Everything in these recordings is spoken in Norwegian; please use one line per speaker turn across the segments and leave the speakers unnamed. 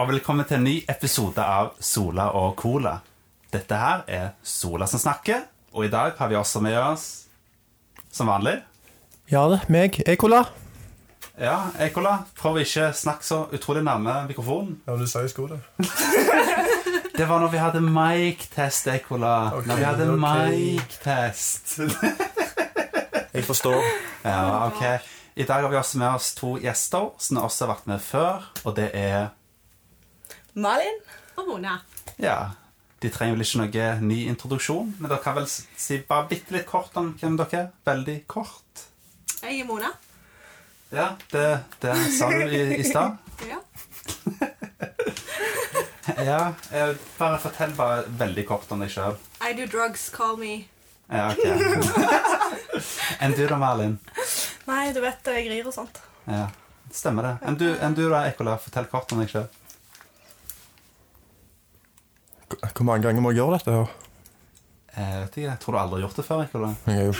og velkommen til en ny episode av Sola og Cola. Dette her er Sola som snakker, og i dag har vi også med oss, som vanlig
Ja, det. Meg. Ekola.
Ja, Ekola, prøv å ikke snakke så utrolig nærme mikrofonen.
Ja, men du sa jeg skulle det.
Det var når vi hadde mic-test, Ekola.
Ok,
når vi hadde
ok.
mic-test.
Jeg forstår.
Ja, ok. I dag har vi også med oss to gjester som også har vært med før, og det er
Malin?
og Mona.
Ja. De trenger vel ikke noe ny introduksjon, men dere kan vel si bare bitte litt kort om hvem dere er. Veldig kort.
Jeg er Mona.
Ja, det, det sa du i, i stad.
Ja.
Ja, eh, bare fortell bare veldig kort om deg sjøl.
I do drugs, call me.
Ja, ok. Enn du da, Malin?
Nei, du vet jeg rir og sånt.
Ja, stemmer det. Enn du, enn du da, Ekola? Fortell kort om deg sjøl.
Hvor mange ganger må jeg gjøre dette her?
Jeg Eh, vet ikke, jeg tror du aldri har gjort det før, Ekola.
Jeg er jo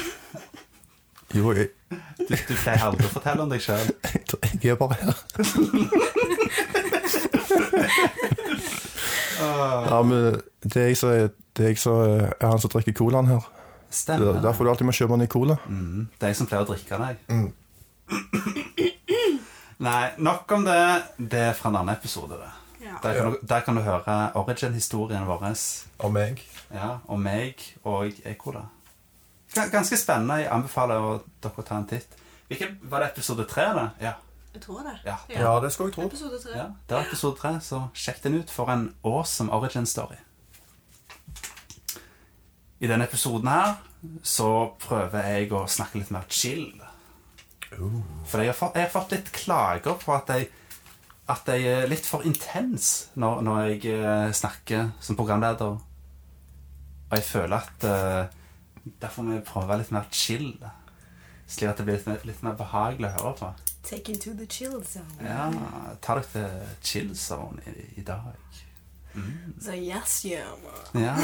Jo, jeg,
Du, du pleier aldri å fortelle om deg sjøl.
jeg er bare her.
Ah.
Ja, men øh, det er jeg som er, det er, jeg som er er han som drikker colaen her. Det
Stemmer
er
det.
derfor du alltid må kjøpe en ny cola.
Mm, det er jeg som pleier å drikke deg. Nei, nok om det. Det er fra en annen episode, det.
Ja.
Der kan, du, der kan du høre origin-historien vår
Og meg.
ja, om meg og Ekola. Ga- Ganske spennende. Jeg anbefaler å dere å ta en titt. Hvilken, var det episode tre, da? Ja.
Jeg tror det.
Ja, det-
Ja, det skulle jeg tro.
Episode tre.
ja. Det var episode tre, så sjekk den ut for en awesome origin-story. I denne episoden her så prøver jeg å snakke litt mer chill. For jeg har fått, jeg har fått litt klager på at jeg, at jeg er litt for intens når, når jeg eh, snakker som programleder. Og jeg føler at eh, derfor må jeg prøve å være litt mer chill. Slik at det blir litt, mer- litt mer behagelig å høre på.
Take into the chill zone.
Ja, ta dere til chill zone i, i dag.
So yes, yeah, man.
Ja,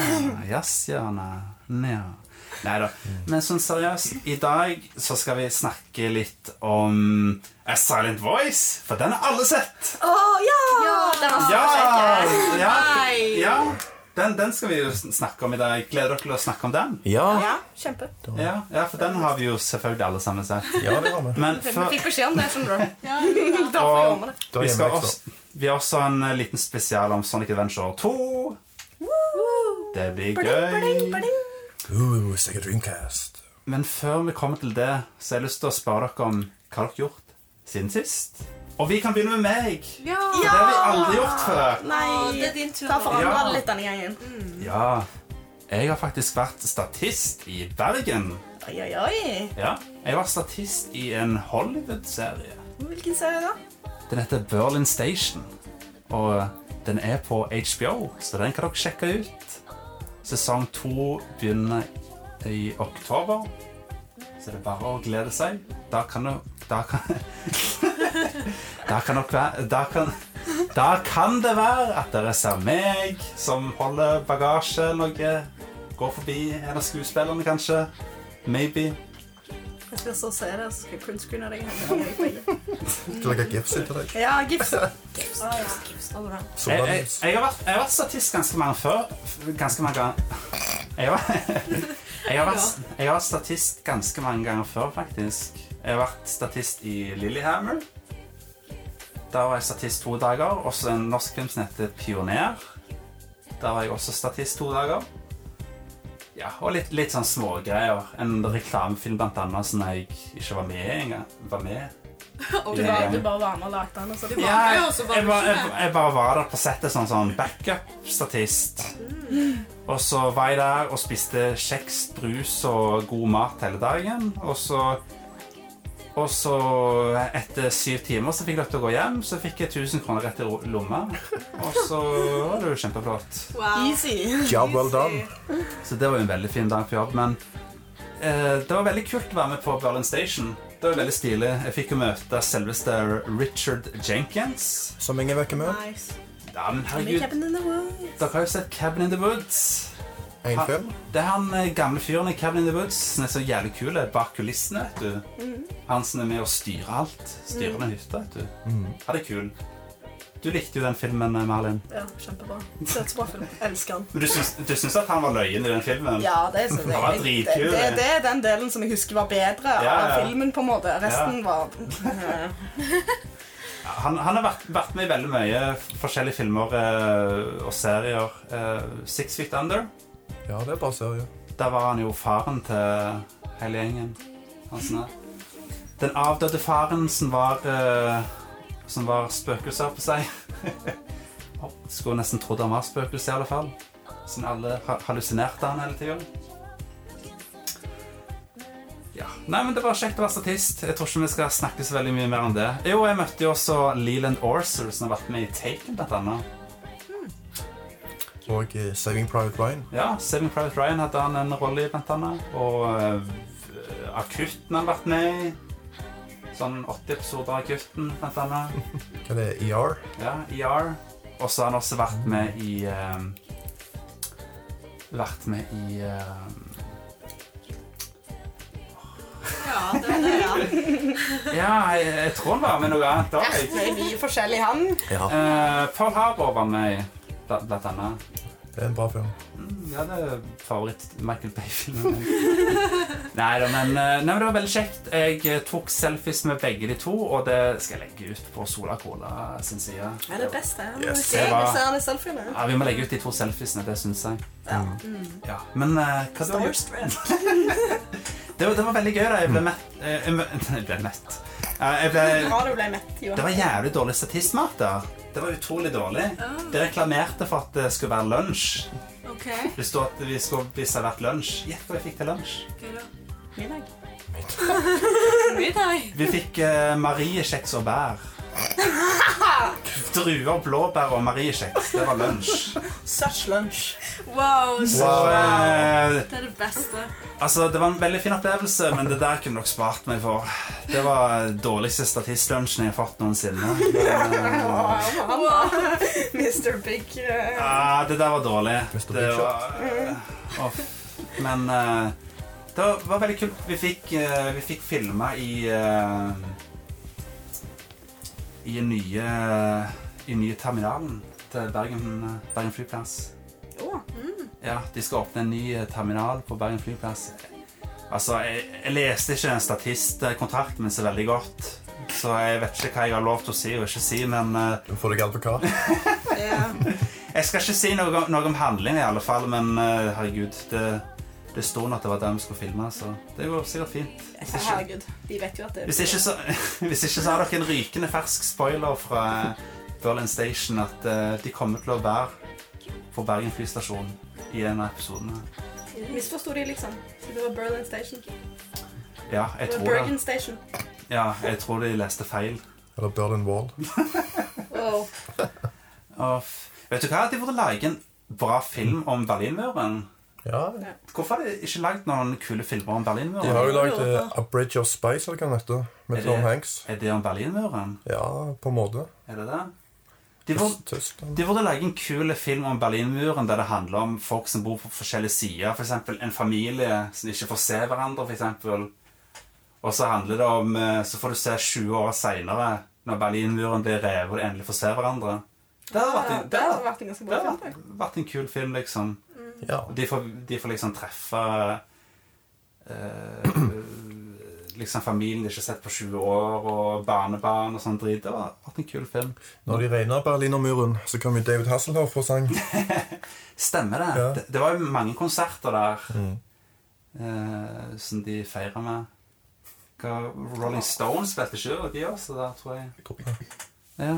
jazzhjørne. Ja. Nei da. Men sånn seriøst, i dag så skal vi snakke litt om A Silent Voice, for den har alle sett.
Å, ja! Den var så
Ja!
kjekk.
ja, ja. Den, den skal vi jo sn- snakke om i dag. Gleder dere til å snakke om den?
Ja.
Ja, kjempe.
Ja, ja for den har vi jo selvfølgelig alle sammen sett.
Ja, det var med.
Men
Vi
før
fikk beskjed om det, skjønner du.
Ja, ja.
Derfor gjorde vi det.
Da
vi,
er
skal
jeg med,
også, vi har også en eh, liten spesial om Sonic Adventure 2. Det blir gøy.
Ooh, Sega uh, Dreamcast.
Men før vi kommer til det, så har jeg lyst til å spørre dere om hva dere har gjort siden sist. Og vi kan begynne med meg.
ja.
Det har vi aldri gjort før.
Nei,
Å, det er din tur.
da forandra
Ja.
det litt denne gangen.
Ja, jeg har faktisk vært statist i Bergen.
Oi, oi, oi.
Ja, jeg var statist i en Hollywood-serie.
Hvilken serie da?
Den heter Berlin Station. Og eh, den er på HBO, så den kan dere sjekke ut. Sesong to begynner i oktober, så det er bare å glede seg. Da kan du Da kan Da kan dere være da kan, da kan det være at dere ser meg som holder bagasje eller noe. Går forbi en av skuespillerne, kanskje. Maybe.
Jeg skal så se det, så skal jeg printscreene deg.
Du legger gipset til deg.
Ja, gips.
Jeg, jeg, jeg, har vært, jeg har vært statist ganske mange før. Ganske mange ganger. Jeg, var, jeg, har vært, jeg har vært statist ganske mange ganger før, faktisk. Jeg har vært statist i Lillehammer. Der var jeg statist to dager. Også en norsk film som heter Pioner. Der var jeg også statist to dager. Ja, Og litt, litt sånn smågreier. En reklamefilm blant annet som jeg ikke var med i engang. Var med.
Du bare, du bare var med og lagde den, og så
Ja,
var
jeg,
med, og så var
jeg,
du
var-
ikke
jeg, jeg bare var der på settet sånn, sånn backup-statist. Og så var jeg der og spiste kjeks, brus og god mat hele dagen. Og så, og så etter syv timer så fikk jeg lov til å gå hjem, så fikk jeg 1000 kroner rett i ro- lomma. Og så var det jo kjempeflott.
Wow.
Easy.
Job well done.
Så det var jo en veldig fin dag på jobb, men eh, det var veldig kult å være med på Berlin Station. Det var veldig stilig. Jeg fikk jo møte selveste Richard Jenkins.
Som ingen vekker med.
Nice.
Ja, men
Med
herregud,
Cabin in the Woods.
Dere har jo sett Cabin in the Woods.
En
Ha-
film.
Det er han eh, gamle fyren i Cabin in the Woods som er så jævlig kul eh, bak kulissene. vet du. Han som er med å styre alt. Styrer med hytta, vet du. Ja, det er kul. Du Du likte jo den filmen, Merlin.
Ja, kjempebra. Dødsbra film. Elsker den.
Men du syns, du syns at han var løyen i den filmen?
Ja, det synes
Han var
jeg. Det,
dritkul,
det,
det.
det er den delen som jeg husker var bedre
Ja,
av
ja.
filmen, på en måte. Resten var
Han, han har vært, vært med i veldig mye f- forskjellige filmer eh, og serier. Eh, Six Feet Under.
Ja, det er bra serie.
Der var han jo faren til hele gjengen. Han sånn her. Den avdøde faren som var eh, Som var spøkelser på seg. Å, Skulle nesten trodd han var spøkelse, i alle fall. Sånn alle ha- hallusinerte han hele tida. Ja. Nei, men det var kjekt å være statist. Jeg tror ikke vi skal snakke så veldig mye mer om det. Jo, jeg møtte jo også Leland Orser, som har vært med i Taken, blant annet.
Og
øh,
eh, Saving Private Ryan.
Ja, Saving Private Ryan hadde han en rolle i, blant annet. Og eh, Akutten har han vært med i. Sånn 80 episoder av Akutten, blant annet.
Hva er det?
E
ER?
Ja, ER. Og så har han også vært med i eh, Vært med i eh,
Ja, det er det, ja.
Ja, jeg, jeg tror han var med i noe annet òg.
Det er mye forskjellig, han.
Ja.
Paul Harbour Eh, var med i, blant blant annet.
Det er en bra film.
Mm, Ja, det er favoritt-Michael Bay-filmen. nei da, men, eh, nei, men det var veldig kjekt. Jeg eh, tok selfies med begge de to, og det skal jeg legge ut på Sola Cola sin side.
Det er det beste.
Yes.
Det er
Hva?
disse her selfiene.
Ja, Vi må legge ut de to selfiesene, det syns jeg. Mm.
Ja.
Ja. Men eh, hva du har gjort? Det, var- det var veldig gøy, da. Jeg ble mett. eh, jeg mø- jeg ble mett. Eh, Jeg ble,
Bra du ble mett,
det
Johan.
var jævlig dårlig statistmat der. Det var utrolig dårlig. De reklamerte for at det skulle være lunsj.
OK.
Det stod at vi skulle bli servert lunsj. Gjett hva vi fikk til lunsj.
Gøy da.
Middag.
Middag.
Vi fikk eh, mariekjeks og bær. Druer, blåbær og mariekjeks. Det var lunsj.
Such lunch.
Wow.
Så eh,
Det er det beste.
altså, det var en veldig fin opplevelse, men det der kunne dere spart meg for. Det var dårligste statistlunsjen jeg har fått noensinne. Men, eh,
Han var Mr. Big. eh,
Ja, Ah, det der var dårlig.
Mr.
Det
Big
var, Åh, men eh, det var, var veldig kult. Vi fikk, eh, vi fikk filma i eh, I den nye, i den nye terminalen til Bergen, Bergen flyplass.
Å,
Ja, de skal åpne en ny eh, terminal på Bergen flyplass. Altså, jeg, jeg leste ikke eh, den statistkontrakten min så veldig godt, så jeg vet ikke hva jeg har lov til å si og ikke si, men eh,
Du får deg advokat.
ja.
jeg skal ikke si noe, om- noe om handlingen i alle fall, men eh, herregud, det, det sto nå at det var der vi skulle filme, så det går sikkert fint. Hvis ikke,
Herregud. Vi vet jo at det
hvis ikke, så, hvis ikke så har dere en rykende fersk spoiler fra eh, Berlin Station at eh, de kommer til å være på Bergen flystasjon i en av episodene.
Misforsto de, liksom. Så det var Berlin Station.
Ja, jeg
Det var
tror det.
Bergen Station.
Ja, jeg tror de leste feil.
Eller Berlin Wall.
Wow.
Og, f- vet du hva? De burde lage en bra film om Berlinmuren.
Ja,
Hvorfor har de ikke lagd noen kule filmer om
De har
Berlinmuren?
jo lagd eh, A Bridge of Spice, eller hva den heter,
Er
med
det-
Tom Hanks.
Er det om Berlinmuren?
Ja, på en måte.
Er det det? De burde,
Tyst, tyst.
de burde lage en kul film om Berlinmuren der det handler om folk som bor på forskjellige sider. For eksempel en familie som ikke får se hverandre, for eksempel. Og så handler det om eh, Så får du se 20 år seinere, når Berlinmuren blir revet og de endelig får se hverandre. Det hadde vært en,
Det
det
har
hadde-
vært en ganske
det
bra
hadde
film.
vært- vært en kul film, liksom.
Ja.
Og De får, de får liksom treffe eh, Liksom familien de ikke har sett på 20 år, og barnebarn og sånn drit. Det har vært en kul film.
Når de regna Berlinermuren, så kom jo David Hasselhoff og sang.
Stemmer det.
Ja.
det. Det var jo mange konserter der
Mm.
eh, som de feira med. Hva, Rolling Stones spilte ikke og de også der, tror jeg. Ja,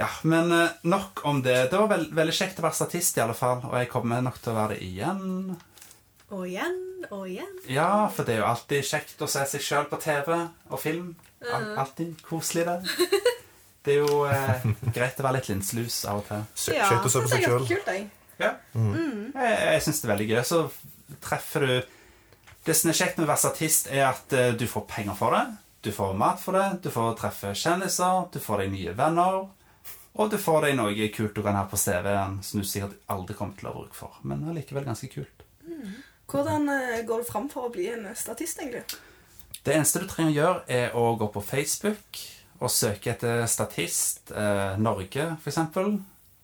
ja men eh, nok om det. Det var vel- veldig kjekt å være statist, i alle fall. Og jeg kommer nok til å være det igjen.
Og igjen og igjen.
Ja, for det er jo alltid kjekt å se seg sjøl på TV og film. Al alltid koselig, det. Det er jo eh, greit å være litt linslus av og til.
Se- Kjekt å se på
det
seg
er
sjøl.
ganske kult, jeg.
Mm. Jeg, jeg syns det er veldig gøy. Så treffer du Det som er kjekt med å være statist, er at eh, du får penger for det. Du får mat for det, du får treffe kjendiser, du får deg nye venner. Og du får deg noe kult du kan ha på CV-en som du sikkert aldri kommer til å ha bruk for. Men allikevel ganske kult.
Hvordan eh, går du fram for å bli en eh, statist, egentlig?
Det eneste du trenger å gjøre, er å gå på Facebook og søker etter statist eh, Norge, f.eks.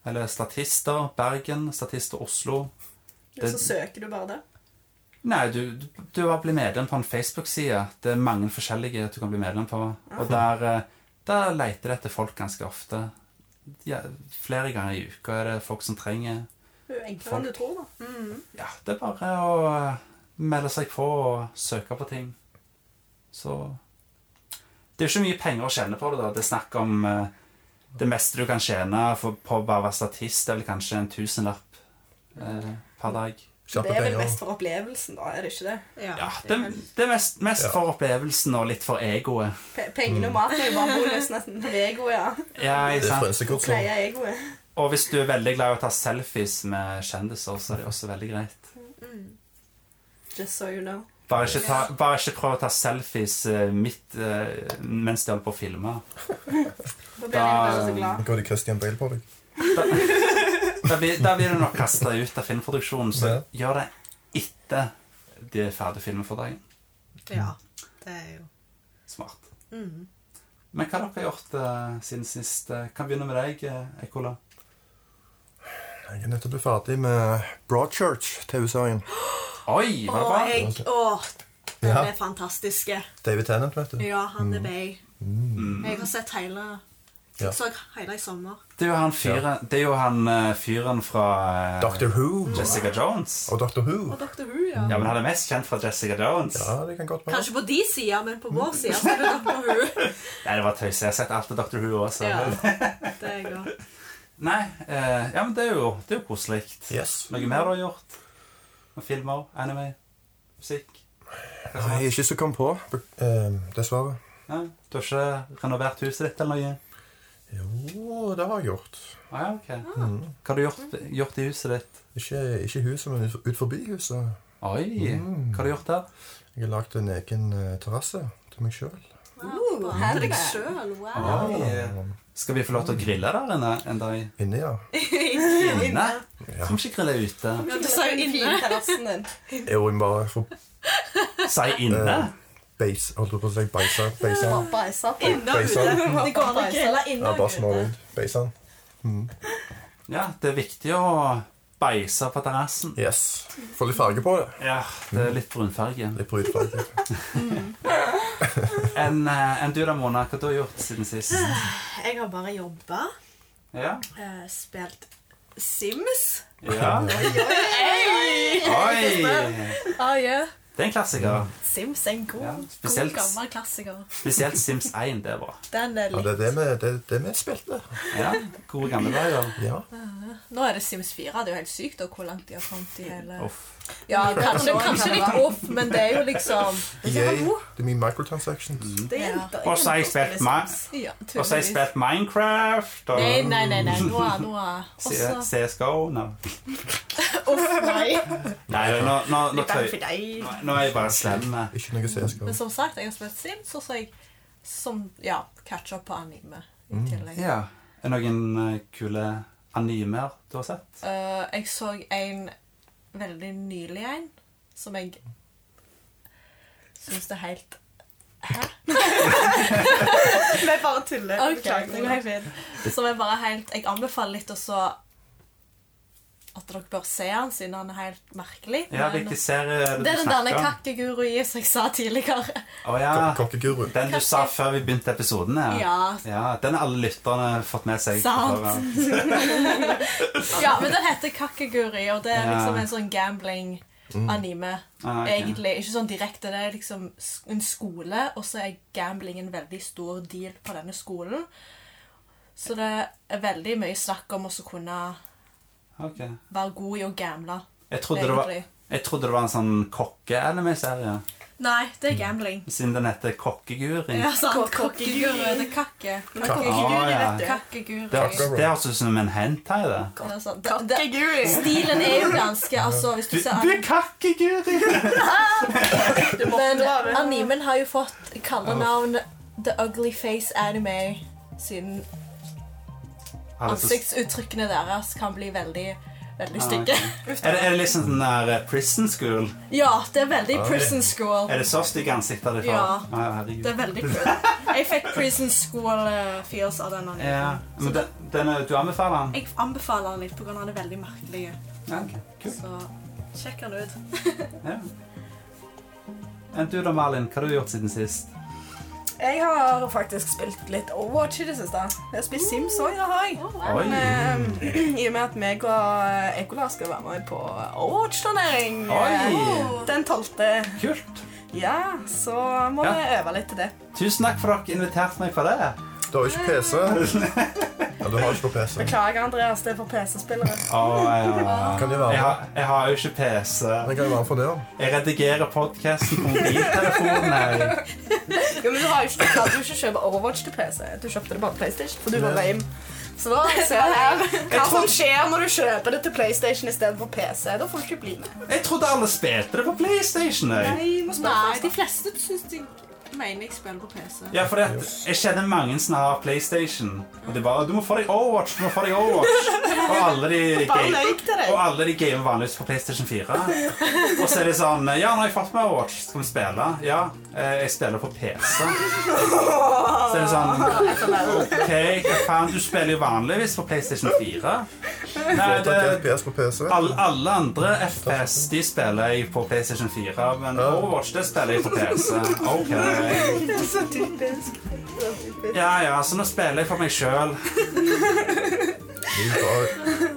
Eller statister Bergen, statister Oslo.
Og så søker du bare det.
Nei, du, du- du bare blir medlem på en Facebook-side. Det er mange forskjellige du kan bli medlem på. Og der, eh, der leter de etter folk ganske ofte. Ja, flere ganger i uka er det folk som trenger
Det er jo enklere enn du tror, da.
Mm.
Ja, det er bare å eh, melde seg på og søke på ting. Så Det er jo ikke mye penger å tjene på det, da. Det er snakk om eh, Det meste du kan tjene for, på å bare være statist, er vel kanskje en tusenlapp eh, per dag.
Det er vel
penger.
mest for opplevelsen, da, er det ikke det?
Ja, det, det er mest, mest for opplevelsen og litt for egoet.
Pe pengene og maten er jo bare bonus, nesten. Det er egoet, ja.
Ja, ikke
Det er
sant?
frynsekort, så
Pleie egoet.
Og hvis du er veldig glad i å ta selfies med kjendiser, så er det også veldig greit.
Mm.
Just so you know.
Bare ikke, ta, bare ikke prøv å ta selfies eh, midt eh, mens de holder på å filme.
Da blir
Da-
jeg bare så glad.
Hva hadde Christian Bale på deg?
Da blir, da blir du nok kasta ut av filmproduksjonen, så
Ja.
gjør det etter de er ferdig filmen for dagen.
Ja, det er jo
Smart. Mm. Men hva har dere gjort eh, siden sist? Eh, Kan begynne med deg, eh, Ekola.
Jeg er nettopp ferdig med Broadchurch-TV-serien.
Oi,
Å,
var det bra?
jeg Å, den
Ja.
er fantastiske.
David Tennant, vet du.
Ja, han er meg. Jeg har sett hele
Ja.
Jeg så hele i sommer.
Det er jo han fyren, det er jo han, eh, fyren fra eh,
Doctor Who.
Jessica Jones.
Og Doctor Who.
Og Dr. Who, ja.
Ja, men han er mest kjent fra Jessica Jones.
Ja, det kan godt være.
Kanskje på de sida, men på vår side så er det Dr. Who.
Nei, det var tøys. Jeg har sett alt av Dr. Who også.
Ja, det er jeg òg.
Nei, eh, ja, men det er jo, det er jo koselig.
Yes.
Noe mer du har gjort? Noen filmer? Anime? Musikk? Hva som
Nei,
helst?
ikke så kom på, eh, dessverre.
Nei, du har ikke renovert huset ditt eller noe?
Jo, det har jeg gjort.
Ah, ja, ok.
Mm.
Hva har du gjort, gjort i huset ditt?
Ikke, ikke huset, men ut ut forbi huset.
Oi,
Mm.
hva har du gjort der?
Jeg har lagd en egen eh, terrasse til meg sjøl.
Wow, bare til deg sjøl. Wow.
Oi. Skal vi få lov til å grille der inne en dag?
Inni, ja.
Inne? Skal vi ikke grille ute?
Men du sa jo inne.
Terrassen din.
Jo, jeg må bare få
Si inne?
Eh, beis, holdt jeg på å si beisa. Beisa.
Beisa på.
Inne og
Beisa.
ute. Det går an å grille
Ja,
inne
bare
og
små
ute.
rundt. Beisa.
Ja, det er viktig å beise på terrassen.
Yes. Få litt farge på det.
Ja, det er litt brunfarge.
Litt brudfarge.
Enn eh, enn du da, Mona, hva du har gjort siden sist?
Jeg har bare jobba,
Ja?
eh, spilt Sims.
ja. Oi! Det er en klassiker.
Sims er en god,
Ja,
god
spesielt-
gammel klassiker.
Spesielt Sims 1. Det er bra.
eh,
Den er
Ja,
litt...
det er det vi- det er det vi spilte.
Ja, Gode gamle dager.
Ja.
Nå er det Sims 4. Det er jo helt sykt da, hvor langt de har kommet i hele
Uff.
Ja, kanskje, kanskje litt off, men det er jo liksom
EA, det er mye microtransactions.
Mm.
Ja.
Det hjelper.
Og så har jeg spilt, Ma
ja,
og så har jeg
tydeligvis.
spilt Minecraft og
Nei, nei, nei. nei. Nå er nå er
C-
også
CSGO. Nå.
Uff, nei.
Nei, nå, nå, nå, tøy-
for deg.
nå, nå er jeg bare slem.
Ikke noe CSGO.
Men som sagt, jeg har spilt Sims, og så har jeg som, ja, catch up på anime i tillegg.
Ja. Er det noen eh, kule animer du har sett?
Eh, jeg så en veldig nylig en, som jeg syns er helt
Vi bare tuller.
Ok,
Beklager.
det går helt fint. Som er bare helt Jeg anbefaler litt også at dere bør se han, siden han er helt merkelig.
Ja,
Men-
Hvilken serie er eh,
det
det
er
du
den derne
snakker om?
kakkegurui som jeg sa tidligere.
Å, ja.
Ko- Kokkeguru.
Den du sa før vi begynte episoden?
Ja.
ja den har alle lytterne fått med seg.
Sant. Ja, men den heter kakkegurui, og det er
Ja.
liksom en sånn gambling anime.
Ah, ok.
Egentlig ikke sånn direkte, det er liksom s- en skole, og så er gambling en veldig stor deal på denne skolen. Så det er veldig mye snakk om også å kunne
Ok.
være god i å gamble.
Jeg trodde, det var,
Egentlig.
jeg trodde det var en sånn kokke-anime-serie,
Nei, det er gambling.
siden den heter Kokkeguri.
Ja, sant.
Kokkeguru.
Mm. Kokkeguru. Det er kakke.
Ah, ja.
Kakkeguru.
Det altså høres- det høres ut som en hentai, det.
Det er sant. Det- det- Stilen er jo ganske altså, hvis du ser an-
er kakkeguri!
Men animen har jo fått kallenavn The Ugly Face Anime siden
Har du så-
ansiktsuttrykkene deres kan bli veldig
veldig
Ah,
stygge.
ok. er, det, er det liksom den der eh, prison school?
Ja, det er veldig prison school.
Er det så stygge ansikter de får?
Ja.
herregud.
Det er veldig kult. Jeg fikk prison school-feels av den. andre.
Ja, men den, den er, du anbefaler den?
Jeg anbefaler den litt pga. den er veldig merkelig.
Ja, ok. Kult.
Så
Sjekk den ut.
Ja. Enn du da, Malin? Hva har du gjort siden sist?
Jeg har faktisk spilt litt Overwatch i det siste. Jeg har spilt Sims òg, det har jeg.
Oi.
Men, eh, I og med at meg og eh, Ekola skal være med på Overwatch-turnering eh,
Oi.
den 12.
Kult.
Ja, så må
Ja.
vi øve litt til det.
Tusen takk for at dere inviterte meg på det.
Du har jo ikke PC. Ja, du har ikke noe PC.
Beklager, Andreas, det er for PC-spillere.
Å, ja.
Kan det
jeg,
være?
har, jeg har jo ikke PC.
Det kan jo være for det, da.
Jeg redigerer podkasten på mobiltelefonen. jeg.
Jo, men du har jo ikke, du klarte jo ikke å kjøpe Overwatch til PC. Du kjøpte det bare til PlayStation, for du var lame. Så da ser jeg her hva som skjer når du kjøper det til PlayStation istedenfor PC. Da får du ikke bli med.
Jeg trodde alle spilte det på PlayStation. Jeg.
Nei, må
Nei, de
spørre
fleste syns de mener jeg spiller på PC.
Ja, for det, jeg kjenner mange som har PlayStation. Og de bare 'Du må få deg Overwatch!' du må få deg Overwatch Og alle de
Bare
ga-
løy til
og
deg.
alle de gamer vanligvis på PlayStation 4. Og så er det sånn 'Ja, nå har jeg fått meg Overwatch. Skal vi spille?' 'Ja, eh, jeg spiller på PC.' Så er det sånn 'OK, hva faen? Du spiller jo vanligvis på PlayStation 4.' Nei,
Du har tatt PS på PC.
eh, Alle, alle andre FPS de spiller jeg på PlayStation 4, men Overwatch det spiller jeg på PC. Ok.
Det er så typisk. Det er så typisk.
Ja ja, så nå spiller jeg for meg sjøl.
Du har-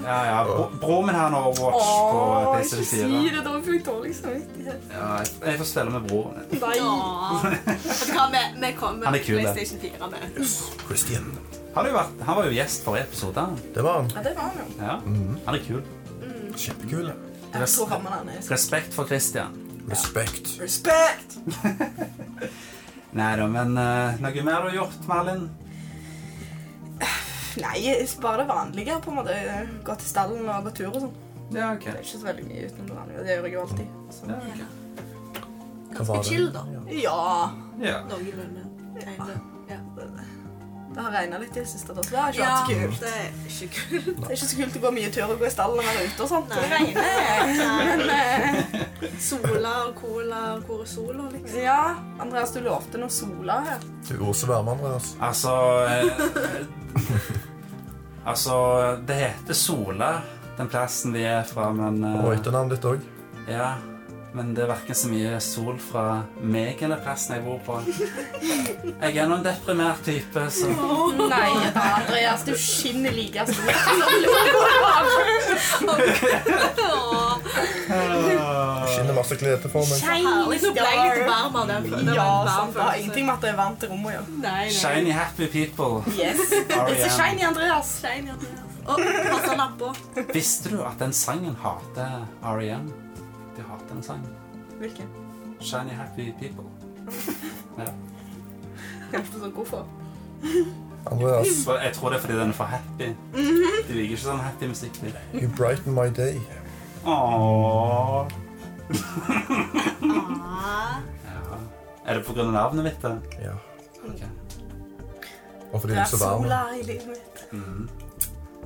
Ja, ja. bro- Broren min har nå Overwatch på
Åh, ikke si
PlayStation 4.
det, da får jeg dårlig samvittighet.
Ja, jeg- jeg får spille med broren min.
Nei.
Vi kommer
Han er kul, det.
PlayStation 4 med.
Christian.
Han, har jo vært, han var jo gjest forrige episode. han.
Det var han.
Ja, det var han jo.
Ja. Han er kul.
Kjempekul.
Jeg tror han var der.
Respekt for Christian.
Respekt.
Respekt!
Nei da, men eh, noe mer du har gjort, Malin?
Nei, bare det vanlige. på en måte. Gå til stallen og gå tur og sånn.
Ja, ok.
Det er ikke så veldig mye utenom det vanlige. Det gjør jeg jo alltid. Så.
Ja, ok.
Ganske chill, da.
Ja.
Ja.
Noenlunde. tegne.
Det har regna litt i det siste. Da. så Det er ikke
Ja,
alltid kult.
det er ikke kult.
Det er ikke så kult å gå mye tur og gå i stallen når man er ute og sånt. Det
Nei.
regner. Men eh,
Sola og cola og hvor er sola, liksom?
ja, Andreas, du lovte noe sola her.
Du er også varme, Andreas.
Altså eh, Altså, det heter Sola, den plassen vi er fra, men eh,
Og etternavnet ditt òg.
Ja. Men det er verken så mye sol fra meg eller plassen jeg bor på. Jeg er noen deprimert type, så
Nei da, Andreas, du skinner like stort.
Skinner masse glede for meg.
Herlig, nå ble jeg litt varm av den. Det
Ja,
var
sant.
en varm
Det har
følelse.
ingenting med at det er varmt i rommet å gjøre.
Nei, nei.
Shiny happy people. E
Yes. It's a
R.E.M..
shiny, Andreas.
Shiny. Å, pass han opp på.
Visste du at den sangen hater R.E.M.? De hater den sangen.
Hvilken?
Shiny happy people.
Kanskje du sånn er så god for.
Andreas,
Så jeg tror det er fordi den er for happy. De liker ikke sånn happy musikk. de.
you brighten my day.
Åh.
Ah.
Ja. Er det pga. navnet mitt? da?
Ja.
Ok.
Og fordi
Det
du er
er
så varm.
sola i livet mitt.
Mhm.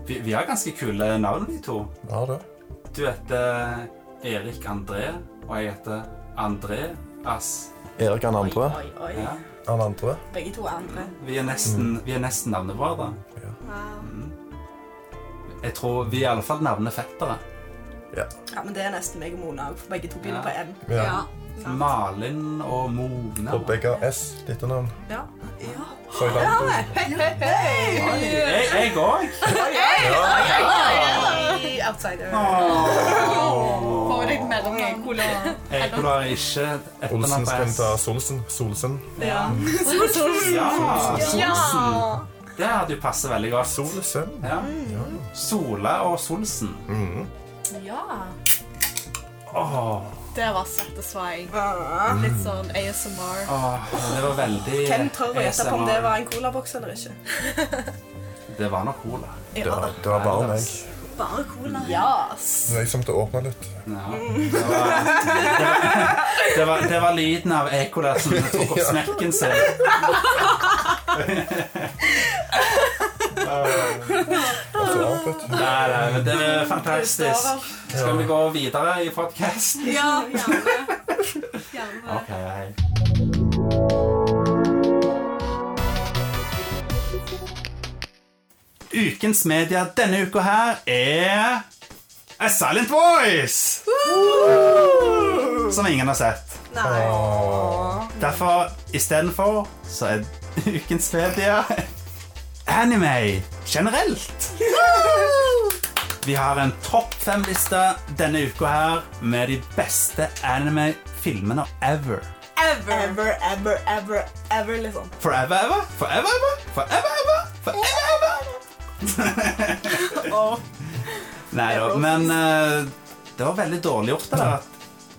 Vi, vi har ganske kule navn, vi to.
Ja, det.
Du heter Erik André, og jeg heter André Ass.
Erik han
Oi,
andre.
oi, oi.
Ja.
Han andre.
Begge to er andre.
Vi er nesten, vi er nesten navnebrødre.
Wow.
Mm. Jeg tror vi er i alle fall navnefettere.
Ja, men det er nesten meg og Mona òg, for begge to begynner
Ja.
på M.
Ja.
sant.
Malin og Mona.
Og begge har S, ditt navn.
Ja.
Så i land.
Hei, hei, hei!
Oi, Jeg jeg òg.
Hei, Outsider.
Får deg mellom cola.
Jeg har ikke etternavn
Olsen
på
skal
S.
ta Solsen. Solsen.
Ja.
Solsen.
Ja,
Ja.
Solsen. Det hadde jo passet veldig godt.
Solsen.
Ja. Sola og Solsen.
Ja.
Åh,
Det var satisfying.
Ah.
Litt sånn ASMR.
åh, det var veldig
Hvem tør å gjette på om det
ASMR.
var en colaboks eller ikke?
Det var nok cola.
Det var, det var bare meg.
Bare cola.
Yes.
Det var jeg som til å åpne litt.
Ja, det, var, det, var, det var lyden av ekola som tok opp smekken sin.
Så, vet du.
Nei, nei, men det er fantastisk. Skal vi gå videre i podkasten?
Ja, gjerne. gjerne.
Ok, hei. Ukens media denne uka her er A Silent Voice! Som ingen har sett. Derfor, istedenfor, så er ukens media anime generelt. Vi har en topp fem-liste denne uka her med de beste anime-filmene ever.
Ever.
Ever, ever, ever, ever, liksom.
Forever ever, forever ever, forever ever, forever ever.
Åh.
Nei da, men eh, det var veldig dårlig gjort det der. at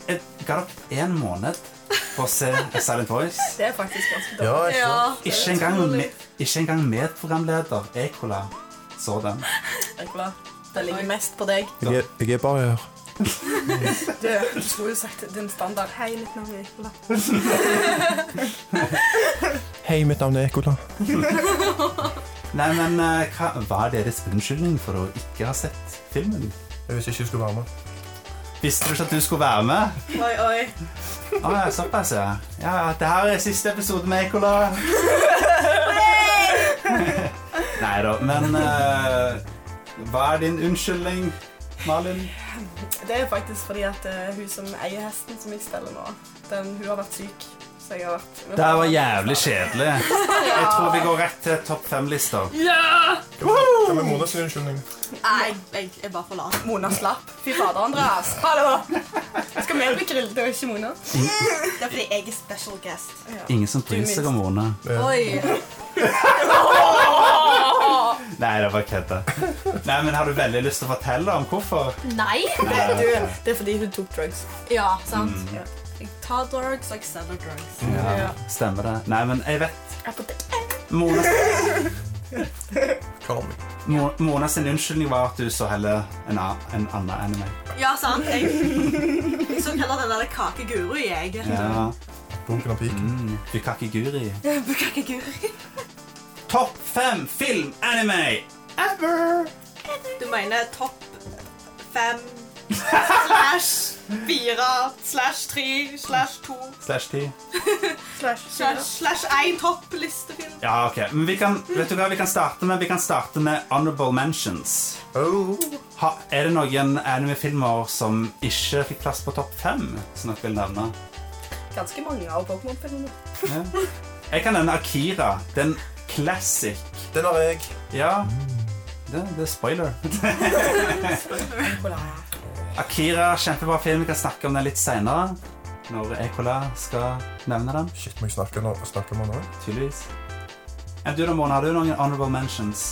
Jeg ga dere én måned på å se A Silent Voice.
Det er faktisk ganske dårlig.
Ja, ikke sant?
Ikke engang, me- ikke engang medprogramleder Ekola så den.
Nicola. Det ligger mest på deg.
Jeg, er- jeg er bare her.
Du, eh, du skulle jo sagt din standard. Hei, mitt navn er Nicola.
Hei, mitt navn er Ekola.
Nei, men eh, hva var deres unnskyldning for å ikke ha sett filmen?
Jeg visste ikke du skulle være med.
Visste du ikke at du skulle være med?
Oi, oi.
Å ja, såpass, ja. Ja, ja, det her er siste episode med Ekola. Nei da, men eh, Hva er din unnskyldning, Malin?
Det er faktisk fordi at eh, hun som eier hesten som jeg steller nå, den, hun har vært syk. Så jeg har vært...
Det her var jævlig kjedelig. Jeg tror vi går rett til topp fem-lister.
Hva med Mona sin unnskyldning?
Nei, jeg, jeg bare forlater.
Mona slapp. Fy fader, Andreas. Hallo! Skal vi bli grillet og ikke Mona?
Det er fordi jeg er special guest.
Ingen som bryr seg om Mona.
Oi.
Nei, det var kødda. Nei, men har du veldig lyst til å fortelle om hvorfor?
Nei.
Du, det er fordi hun tok drugs.
Ja, sant. Jeg tar drugs, og jeg selger drugs.
Ja, stemmer det. Nei, men jeg vet
Apotek.
Mona,
Kom.
Mo- Mona sin unnskyldning var at du så heller en, a- en annen anime.
Ja, sant. Jeg, jeg så heller den der kakeguru, jeg.
Ja.
Bunken og piken.
Mm, Bukakiguri.
Kakeguru.
Topp fem film-anime ever!
Du mener topp fem slash fire slash tre slash to
Slash 10.
slash- slash én topplistefilm?
Ja, ok. Men vi kan, vet du hva vi kan starte med? Vi kan starte med honorable mentions.
Oh.
Ha, er det noen anime-filmer som ikke fikk plass på topp fem, som dere vil nevne?
Ganske mange av Pokémon-filmene.
Ja. Jeg kan nevne Akira. Det er en classic.
Den har jeg.
Ja. Det, det er spoiler. Akira, kjempebra film. Vi kan snakke om den litt seinere. Når Ekola skal nevne den.
Shit, må jeg snakke, nå, snakke med han også?
Tydeligvis. Enn du da, Mona? Har du noen honorable mentions?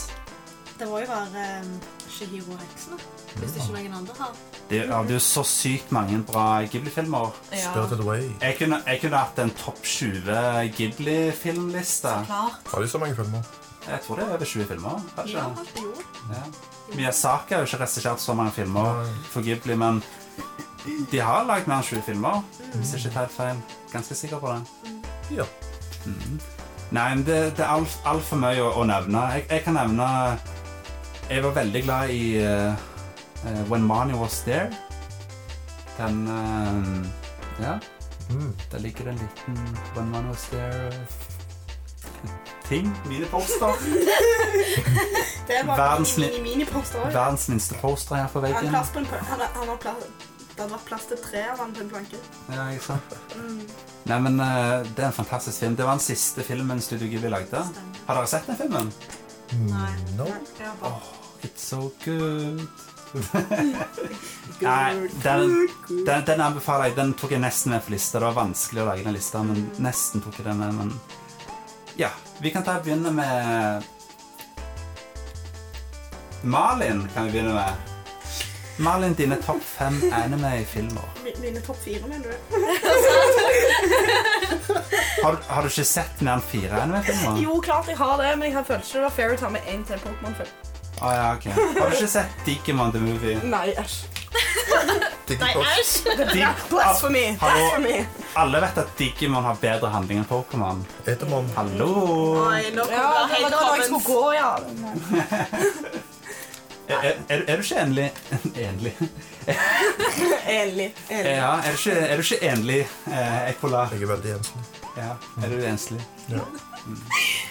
Det må jo være
ehm,
um, Shihiro Heksen, hvis ikke noen andre har.
Det er det er jo så sykt mange bra Ghibli-filmer.
Spirited Away.
Jeg kunne, jeg kunne hatt en topp 20 Ghibli-filmliste.
Klart.
Har de så mange filmer?
Jeg tror det er over 20 filmer. kanskje.
Ja, jo.
Ja. Miyazaki har jo ikke regissert så mange filmer for Ghibli, men de har lagd mer enn 20 filmer. Hvis jeg ikke tar helt feil. Ganske sikker på det.
Ja.
Nei, men det, det er altfor alt for mye å, å nevne. Jeg, jeg kan nevne Jeg var veldig glad i eh, eh, When Money Was There. Den eh, Ja.
Mm.
Der ligger det en liten When Man Was There-ting. Mine poster.
Det var
Verdens li-
mini- mini-poster også.
Verdens minste poster her på
Han,
veggen.
plass på en, pl- han, han har plass, det hadde vært plass til tre av han på en planke.
Ja, ikke sant? Nei, men eh, Det er en fantastisk film. Det var den siste filmen Studio Ghibli lagde. Har dere sett den filmen? Mm,
Nei.
No.
Ja, bare.
It's so good. Nei, den, den, den anbefaler jeg. Den tok jeg nesten med på lista. Det var vanskelig å lage den lista, men nesten tok jeg den med. Men ja, vi kan ta begynne med Malin kan vi begynne med. Malin, dine topp fem anime-filmer.
Mi- Mine topp fire, mener du?
Har, har du ikke sett mer enn fire anime-filmer?
Jo, klart jeg har det, men jeg følte ikke det var fair å ta med én til Pokémon-film.
Å ja, ok. Har du ikke sett Digimon the Movie?
Nei, æsj.
Digitops.
Dig-
Blasfemi.
Hallo.
Blasfemi.
Alle vet at Digimon har bedre handling enn Pokémon.
Etemon.
Hallo!
Nei, nå
Ja, det
kommer
var da jeg
headcovens.
skulle gå, ja.
Er, er, er, er du ikke enlig Enlig?
Enig. enig.
Ja, er du ikke, er du ikke enlig, eh, Ekola?
Jeg er veldig enslig.
Ja, er du enslig?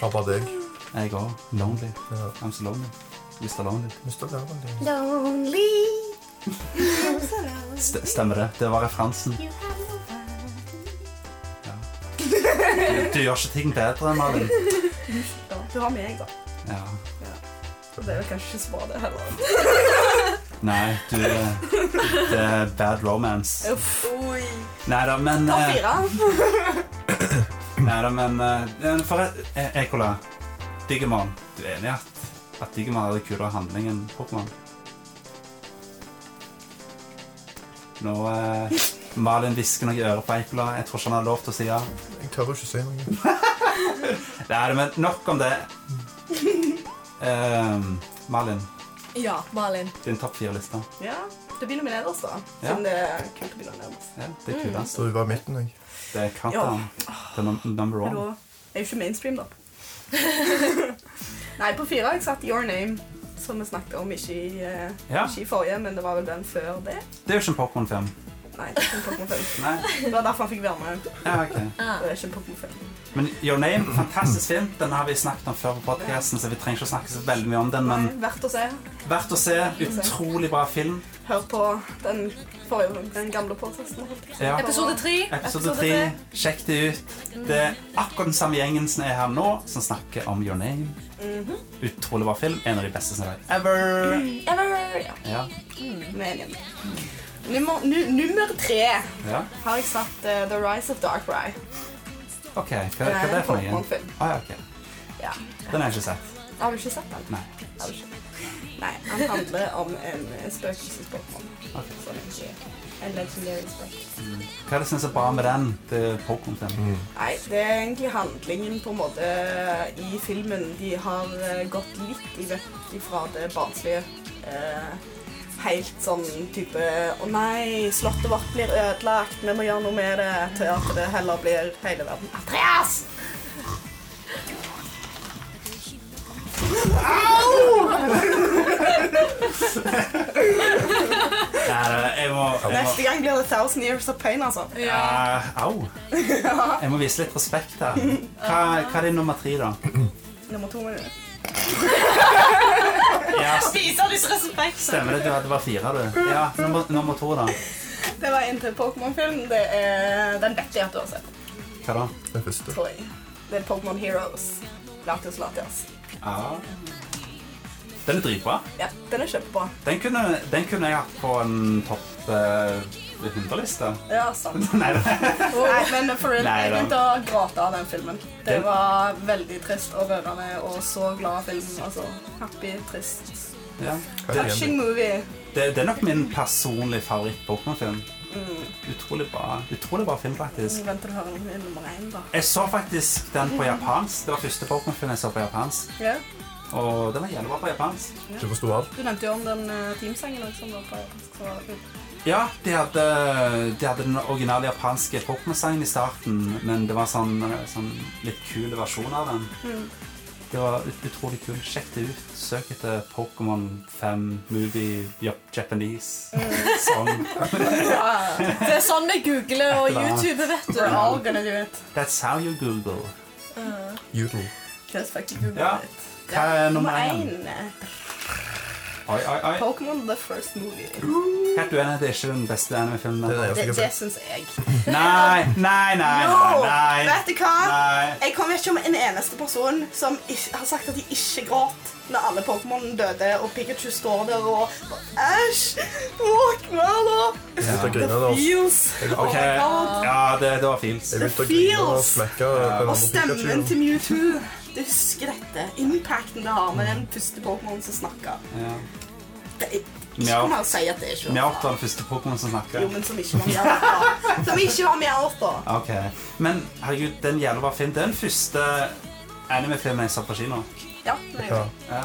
Har bare deg.
Jeg òg. Lonely.
Ja.
I'm so lonely. Mr. Lonely.
Mister læreren din.
Lonely.
St stemmer det. Det var referansen. Ja. Du, du gjør ikke ting bedre, Malin.
Ja, du har meg, da.
Ja.
Så det er vel kanskje ikke så bra, det heller.
Nei, du eh, Det er bad romance.
Uff. Oi.
Nei da, men
Ta
eh,
fire.
Neida, men eh, eh, for eh, Ekola, Digimon, du er enig i at, at Digimon er det kulere handling enn Pokémon? Nå eh, Malin hvisker noe i øret på Ekola. Jeg tror ikke han har lov til å si ja.
Jeg tør jo ikke si noe.
Nei, men nok om det. Ehm, Malin,
Ja, Malin.
din topp fire-liste.
Ja, det begynner med nederst, da.
Ja.
Siden det er kult å begynne nederst.
Ja, det er kulest.
Så du var i midten, jeg.
Det er Countdown. Det er num- number
Men da
one.
er jo ikke mainstream, da. Nei, på fire har jeg satt Your Name, som vi snakket om ikke i, eh,
Ja.
ikke i forrige, men det var vel den før det.
Det er jo ikke en Pokémon-film.
Nei, det er ikke en Pokémon film.
Nei?
Det var derfor han fikk være med.
Ja, ok.
Ah.
Det er ikke en Pokémon film.
Men Your Name, fantastisk film. Den har vi snakket om før på podcasten, så vi trenger ikke å snakke så veldig mye om den, men
Nei, Verdt å se.
verdt å se. Utrolig bra film.
Hør på den, forrige, den gamle podcasten.
Ja.
Episode tre.
Episode tre. Sjekk det ut. Det er akkurat den samme gjengen som er her nå, som snakker om Your Name. Utrolig bra film. En av de beste som er laget ever.
Ever, ja.
Ja. Mm.
Med en igjen. Nummer, nu, nummer tre
ja.
har jeg satt eh, The Rise of Darkrai.
OK. Hva,
Den
hva er
er
det
en
for noe?
Pokémon-film.
Ah, ja, ok.
Ja.
Den har jeg ikke sett.
Har du ikke sett den?
Nei.
Har du ikke? Nei, han handler om en eh, spøkelsespokémon.
Ok.
Som egentlig er En legendary spøkelse.
Hva er det som er så bra med den? Det er Pokémon-film.
Nei, det er egentlig handlingen på en måte i filmen. De har eh, gått litt i vekk ifra det barnslige. eh, helt sånn type Å nei, slottet vårt blir ødelagt, vi må gjøre noe med det. Til at det heller blir hele verden Andreas!
Nei, det- jeg må, jeg må
Neste gang blir det 1000 Years of Pain, altså.
Eh, Au. Jeg må vise litt respekt her. Hva, hva er din nummer tre, da?
Nummer to. er det.
Ja,
Viser disrespekt.
Stemmer det, du hadde bare fire, du. Ja, nummer, nummer to, da.
Det var en til Pokémon-film. Det er- Den vet jeg at du har sett.
Hva da?
Det første.
tror jeg. Det er Pokémon Heroes. Lagt hos Latias.
Den er dritbra.
Ja, den er kjempebra.
Den kunne, den kunne jeg hatt på en topp eh, 100-liste.
Ja, sant.
Nei, det-
Nei, men for real, jeg
Neida.
begynte å gråte av den filmen. Det
Den-
var veldig trist og rørende og så glad film. Altså, happy, trist.
ja. det,
Touching movie.
det, det er nok min personlige favoritt-Pokémon-film. Utrolig bra Utrolig bra film, faktisk.
Vent til du hører min nummer én, da.
Jeg så faktisk den på japansk. Det var første Pokémon-film jeg så på japansk.
Ja.
Og den var jævlig bra på japansk.
Du forsto alt.
Du nevnte jo om den eh, teamsangen også, som var på japansk. Så var det kult.
Ja, de hadde, de hadde den originale japanske Pokémon-sangen i starten, men det var sånn, sånn litt kul versjon av den.
Mm.
Det var ut, utrolig kul. Sjekk det ut. Søk etter Pokémon 5 Movie Jap- Japanese
Mm.
Song.
Det er sånn vi googler og YouTuber, vet du.
We're all gonna do it.
That's how you Google.
Judel.
Just fucking Google
Ja.
it.
Hva er nummer
Nummer
én?
én. eh,
Oi, oi, oi.
Pokémon The First Movie.
Helt uenig, det er ikke den beste anime-filmen.
Det er det
Nei,
eneste
Det,
jeg har
det
sett.
syns jeg.
nei, nei, nei,
No!
nei.
Vet du hva?
Nei.
Jeg kommer ikke om en eneste person som ikke, har sagt at de ikke gråt når alle Pokémon døde, og Pikachu står der og Æsj! Våk meg, da!
Jeg begynte å grine da.
The feels. Oh
Ok,
my God.
ja, det, det var fint.
Jeg begynte å grine og
Feels.
smekke eh, den
Og
andre
stemmen
Pikachu.
til Mewtwo. Du husker dette. Impacten det har med den første Pokémon som snakker.
Ja.
Det er ikke
Mjau.
kom her og si at det ikke var
Mjaup var den første Pokémon som snakket.
Jo, men som ikke var med oss, Som ikke var med oss, da.
Ok, men herregud, den jævla var fin. Det er den første anime-filmen jeg så på kino.
Ja, det er
Ja.
jo-
Ja.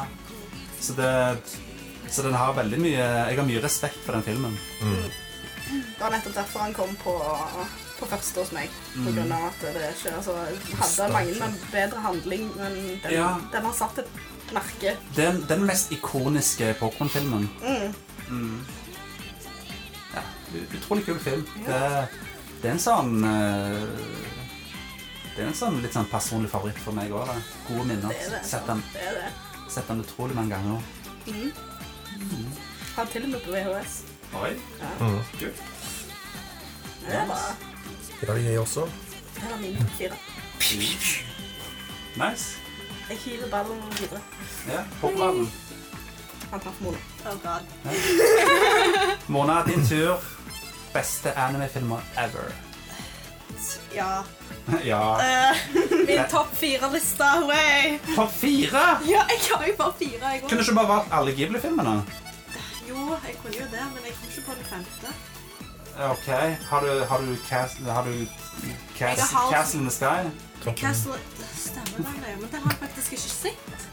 Så, det, så den har veldig mye Jeg har mye respekt for den filmen.
Det var nettopp derfor han kom på, på første hos meg.
Mm.
På grunn av at det ikke altså, hadde mange en bedre handling, men den,
Ja.
den har satt et merke.
Den, den mest ikoniske Pokémon-filmen.
Mm.
Mm. Ja, ut- utrolig kul film. Det, det er en sånn eh, Det er en sånn litt sånn personlig favoritt for meg òg. Gode minner.
Det er det.
Sett den,
Det er det.
sett den utrolig mange ganger.
Mm. Har til og med på VHS.
Oi,
Ja.
Mm.
kult.
Det var,
Ja, jeg også.
det var min fire.
Nice.
Jeg hiver ballen videre.
Ja, Pokémon.
Han traff Mona. Oh god.
Mona, din tur. Beste anime-filmer ever.
Ja.
ja.
Eh, min topp fire-liste. Way.
Topp fire!
Ja, jeg har jo bare fire. Jeg
Kunne du
også.
ikke bare valgt alle Ghibli-filmene?
Jo, jeg kunne jo det, men jeg kom ikke på den femte.
OK. Har du, har du, cast, har du
Jeg
cast,
har-
Castle in the Sky?
Toppen.
Castle Stemmer det, nei, men det har jeg faktisk ikke sett.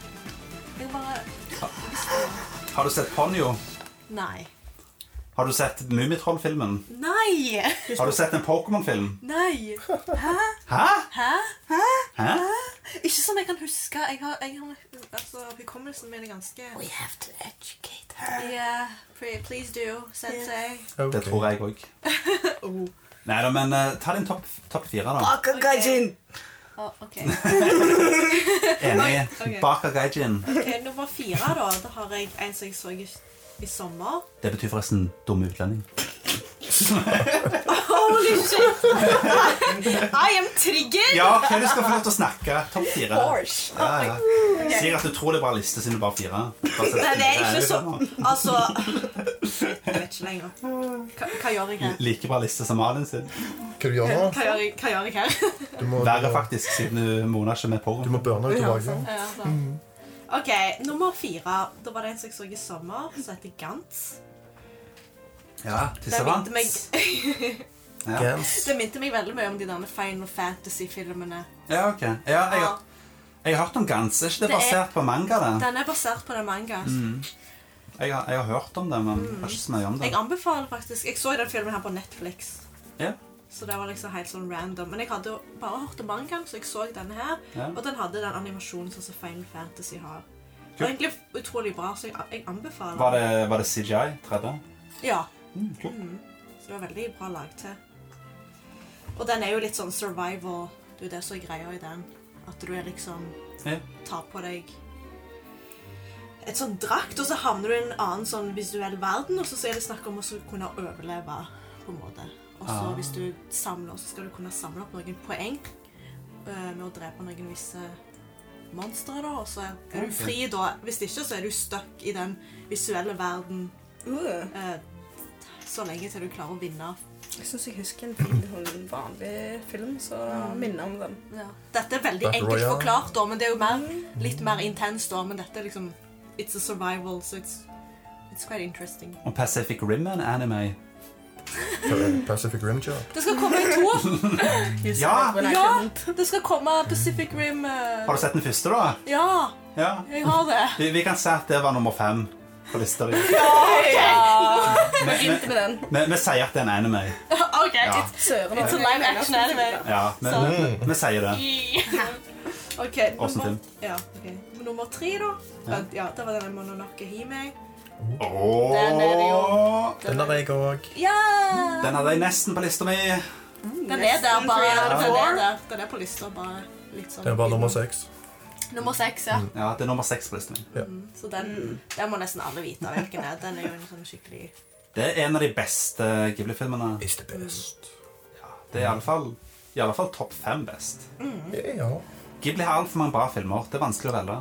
Jeg bare
Har du sett Ponyo?
Nei.
Har du sett Mummitroll-filmen?
Nei!
Har du sett en Pokémon-film?
Nei!
Hæ?
Hæ?
Hæ?
Ikke som jeg kan huske. Jeg har, jeg har altså, Hukommelsen min er ganske We have to educate her. Yeah, pre- please do, sensei.
Det tror jeg òg.
Oh.
Nei da, men eh, ta din topp topp fire, da.
Akagajin!
Å, ok.
Enig.
Ok.
Baka Gaijin.
ok, Nummer fire, da. Da har jeg en som jeg så i, i sommer.
Det betyr forresten dum utlending.
Holy shit! I am triggered!
Ja, OK, du skal få lov til å snakke. Topp fire.
Porsche.
Ja, ja. Sier at du tror det er bare liste siden du bare har fire. Bare sett
Nei, det er
fire.
ikke så
sånn.
Altså Jeg vet ikke lenger. Hva, hva gjør jeg her?
liksom Like bra liste som Malin sin.
Hva du gjør nå?
Hva gjør jeg, hva gjør jeg her?
Du må,
Verre, faktisk, siden du Mona ikke er med på.
du må burne ut tilbake.
Ja, altså. OK, nummer fire. Da var det en som jeg så i sommer, som heter Gantz.
Ja,
Det
tissevant.
minte meg,
Ja.
Gans.
det minte meg veldig mye om de der Final Fantasy-filmene.
ja, ok. Ja, jeg, har- jeg har hørt om Gans. Er ikke det
Det er-
basert på manga, det?
Den er basert på den mangaen.
Mm. Jeg har, jeg har hørt om det, men jeg har ikke så mye om det.
Jeg anbefaler faktisk Jeg så jo den filmen her på Netflix.
Ja.
Så det var liksom helt sånn random. Men jeg hadde jo bare hørt om mangaen, så jeg så denne her.
Ja.
Og den hadde den animasjonen sånn som Final Fantasy har. Det
Kult.
var egentlig utrolig bra, så jeg, jeg anbefaler
Var det, var det CGI 3D?
Ja.
Mm, kult.
Så det var veldig bra lag til. Og den er jo litt sånn survival. Det er jo det som er greia i den. At du er liksom
Ja.
Tar på deg et sånn drakt, og så havner du i en annen sånn visuell verden, og så så er det snakk om å så kunne overleve, på en måte. Og så
Ah.
hvis du samler, så skal du kunne samle opp noen poeng eh, med å drepe noen visse monstre, da, og så er du fri da. Hvis ikke, så er du stuck i den visuelle verden
Uh,
eh, så lenge til du klarer å vinne.
jeg syns jeg husker en fin sånn vanlig film som minner om den.
Dette er veldig
Battle
enkelt
Royale.
forklart, da, men det er jo mer, litt mer intenst. da, Men dette er liksom It's a survival, so it's, it's quite interesting.
Og Pacific Rim er en anime.
Pacific Rim Job.
Det skal komme to!
You said
Ja!
it when I
Ja!
couldn't.
Det skal komme Pacific Rim eh,
Har du sett den første, da?
Ja,
Ja.
jeg har det.
Vi, vi kan si at det var nummer fem på lista di. Vi
Begynte med den.
vi- vi sier at det er en anime.
OK.
Ja.
it's-
Søren.
It's a live action anime.
Ja, vi, vi, vi sier det.
OK.
Awesome film.
Nummer, ja, ok. nummer tre, da.
Ja.
Ja, Det var denne Mononoke Hime. Den er det
Ååå.
jo.
Den har jeg òg.
Ja!
Den hadde jeg nesten på lista mi.
Den er der, bare. Den
Nesten three out
er,
of four.
der. Den er på lista, bare litt sånn
Det er bare nummer seks.
Nummer seks, ja.
Ja, det er nummer seks på lista mi.
Så den, den må nesten alle vite hvilken er. Den er jo en sånn skikkelig
Det er en av de beste Ghibli-filmene.
Is the best.
Det er i alle fall, i alle fall topp fem best.
Ja.
Ghibli har altfor mange bra filmer. Det er vanskelig å velge.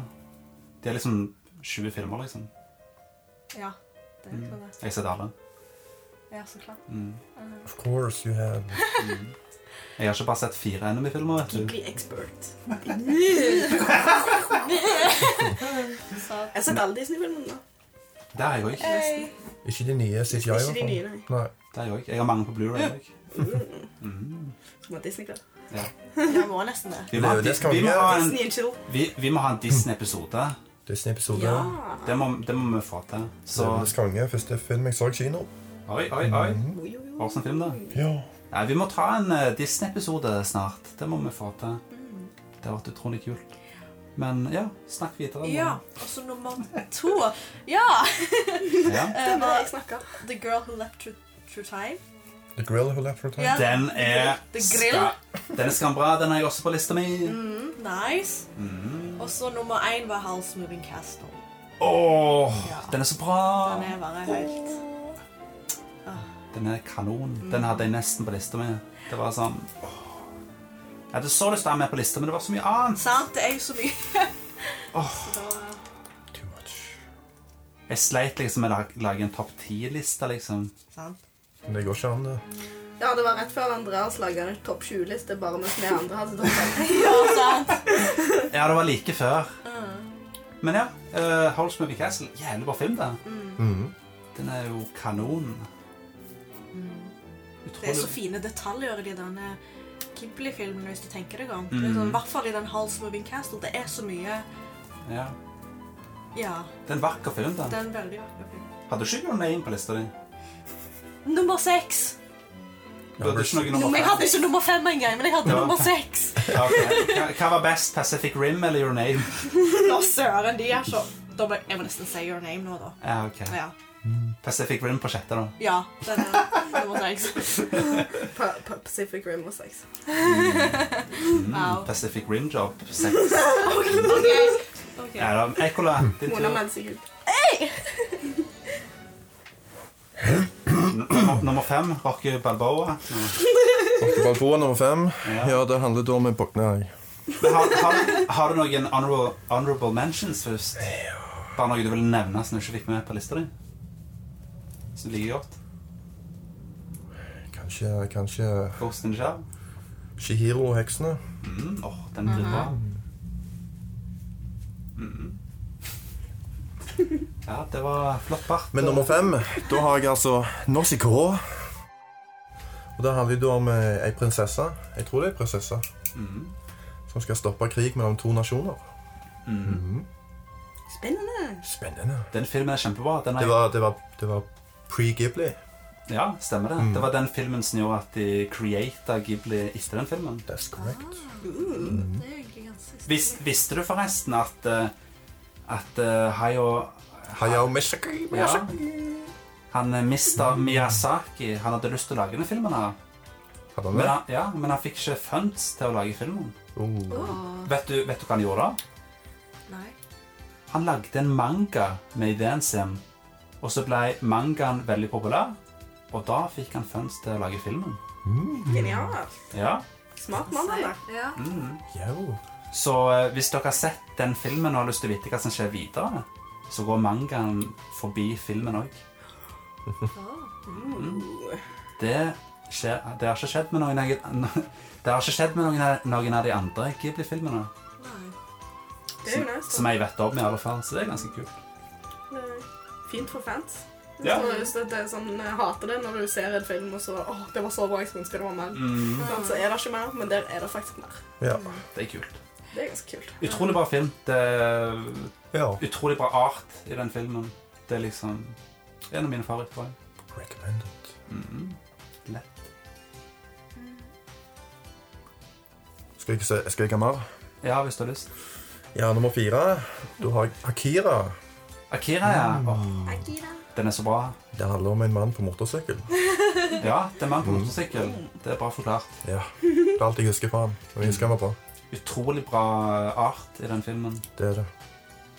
De er liksom 20 filmer, liksom.
Ja. Det er
Mm.
sånn det.
Jeg har sett alle.
Ja, så klart.
Mm.
Of course you have.
Jeg har ikke bare sett fire anime-filmer, vet du.
Bli expert.
Så,
Jeg har sett alle Disney-filmene. nå.
Det har jeg òg.
Nesten.
Ikke de nye CGI, i
Ikke
hvert
de nye,
fall.
nei.
Nei.
Det har jeg òg. Jeg har mange på Blu-ray òg.
Som var Disney-klær.
jeg må nesten det.
Vi, må ha
Det er jo det
en-
skal
vi,
vi
må
gjøre.
ha en-
Disney and chill.
vi, vi må ha en Disney-episode.
Disney-episode.
Ja.
Ah.
Det, må- det må vi få til. Så
Løvenes konge. Første film jeg så i kino.
Oi, oi, oi.
Oi, oi, oi.
Hva slags film, da?
Ja.
Nei, vi må ta en eh, Disney-episode snart. Det må vi få til. Det har vært utrolig kult. Men ja, snakk videre.
Ja, og så nummer to. Ja!
Ja.
eh,
Det var
var
jeg snakket.
The Girl Who Left Through, through Time.
The Grill Who Left for Time.
Ja.
Den er
The Grill.
ska, Den er skambra. Den har jeg også på lista mi.
Mm, nice.
Mm.
Og så nummer én var House Moving Castle.
Åh,
Ja.
den er så bra!
Den er bare helt
Den er kanon.
Mm.
Den hadde jeg nesten på lista mi. Det var sånn åh. Jeg hadde så lyst til å ha den med på lista, men det var så mye annet.
Sant, det er jo så mye. Så da,
Too much.
Jeg sleit liksom med å lag- lage en topp ti-liste, liksom.
sant.
Men det går ikke an, det.
Ja, det var rett før Andreas laget en topp 20-liste, bare mens vi andre hadde topp 10.
Ja, sant.
Ja, det var like før.
Mm.
Men ja, uh, Holsmovie Castle, jævlig bra film, det.
Mm.
Mhm.
Den er jo kanon.
Mm. Det er så
Utrolig.
fine detaljer i de denne Ghibli-filmen, hvis du tenker deg om.
Mm.
Det er sånn, I hvert fall i den House Moving Castle. Det er så mye
Ja.
Ja,
Det er en vakker film,
det
den.
er en veldig vakker film.
Hadde du ikke noen name på lista di?
Nummer seks!
Du hadde ikke noe nummer
Jeg
fem?
hadde ikke nummer fem engang, men jeg hadde
Ja.
nummer seks.
Ja, ok. Hva- Hva var best, Pacific Rim eller Your Name?
Nå søren, de er så da må, Jeg må nesten si your name nå, da.
Ja, ok.
Ja,
Pacific Rim på sjette, da.
ja den er nummer seks.
Pa- Pa- Pacific Rim og 6.
Mm,
Wow.
Pacific Rim Job seks.
Ok, ok.
Ja, da. Ekkola, din tur.
Mona Mansikut.
Nummer- Nummer fem, Rocky Balboa.
Balboa nummer fem.
Ja.
Ja, det handler da om en bukne.
Men har, har, har du noen honorable, honorable mentions først? Bare noe du vil nevne som du ikke fikk med på lista di? Som du liker godt?
Kanskje, kanskje
Ghost in the Shell?
Shihiro og heksene.
Mm, åh, den blir bra. Mm. Ja, det var flott bart.
Men nummer fem, da har jeg altså Norsiko. Og det handler jo da om eh, ei prinsesse, jeg tror det er ei prinsesse,
Mm.
som skal stoppe krig mellom to nasjoner.
Mm.
Spennende.
Spennende.
Den filmen er kjempebra. Den
Det
er,
var, det var, det var pre-Ghibli.
ja, stemmer
Mm.
det. Det var den filmen som gjorde at de creata Ghibli etter den filmen.
That's correct.
Det er egentlig ganske
Vis, visste du forresten at eh, at eh, Hayao
Hayao Mishaki.
Ja. Han eh, mista Miyazaki. Han hadde lyst til å lage denne filmen. her
Hadde han
Men
det?
han, ja, men han fikk ikke funds til å lage filmen.
Oh.
Åh,
Vet du, vet du hva han gjorde? da?
nei.
Han lagde en manga med ideen sin, og så ble mangaen veldig populær. Og da fikk han funds til å lage filmen.
Genial.
Ja.
Smart mann, han der.
Ja.
Mm.
Jau.
Så eh, hvis dere har sett den filmen og har lyst til å vite hva som skjer videre, så går mangaen forbi filmen òg.
Ah.
Det, skjer, det har ikke skjedd med noen, av- det har ikke skjedd med noen, av- noen av de andre Ghibli-filmene.
Nei.
Det er jo
Som-
nice. da.
Som jeg vet om, i alle fall. Så det er ganske kult.
Det er Eh, Fint for fans.
Ja.
Ja. Så det er sånn, jeg hater det når du ser en film og så Åh, det var så bra, jeg skulle ønske det var mer.
Mm,
Sånn, Så er det ikke mer, men der er det faktisk mer.
Ja.
det er kult.
Det er ganske kult.
Utrolig bra film. Det er
ja.
utrolig bra art i den filmen. Det er liksom en av mine favoritter.
Recommended.
Mm.
Skal jeg, ikke se, skal jeg ikke ha mer?
Ja, hvis du har lyst.
Ja, nummer fire. Da har jeg Akira.
Akira, ja. Åh,
Mm. Akira.
den er så bra.
Det handler om en mann på motorsykkel.
Ja, det er mann på motorsykkel. Det er bra forklart.
Ja. Det er alt jeg husker fra han. Og jeg husker han var bra.
Utrolig bra eh, art i den filmen.
Det er det.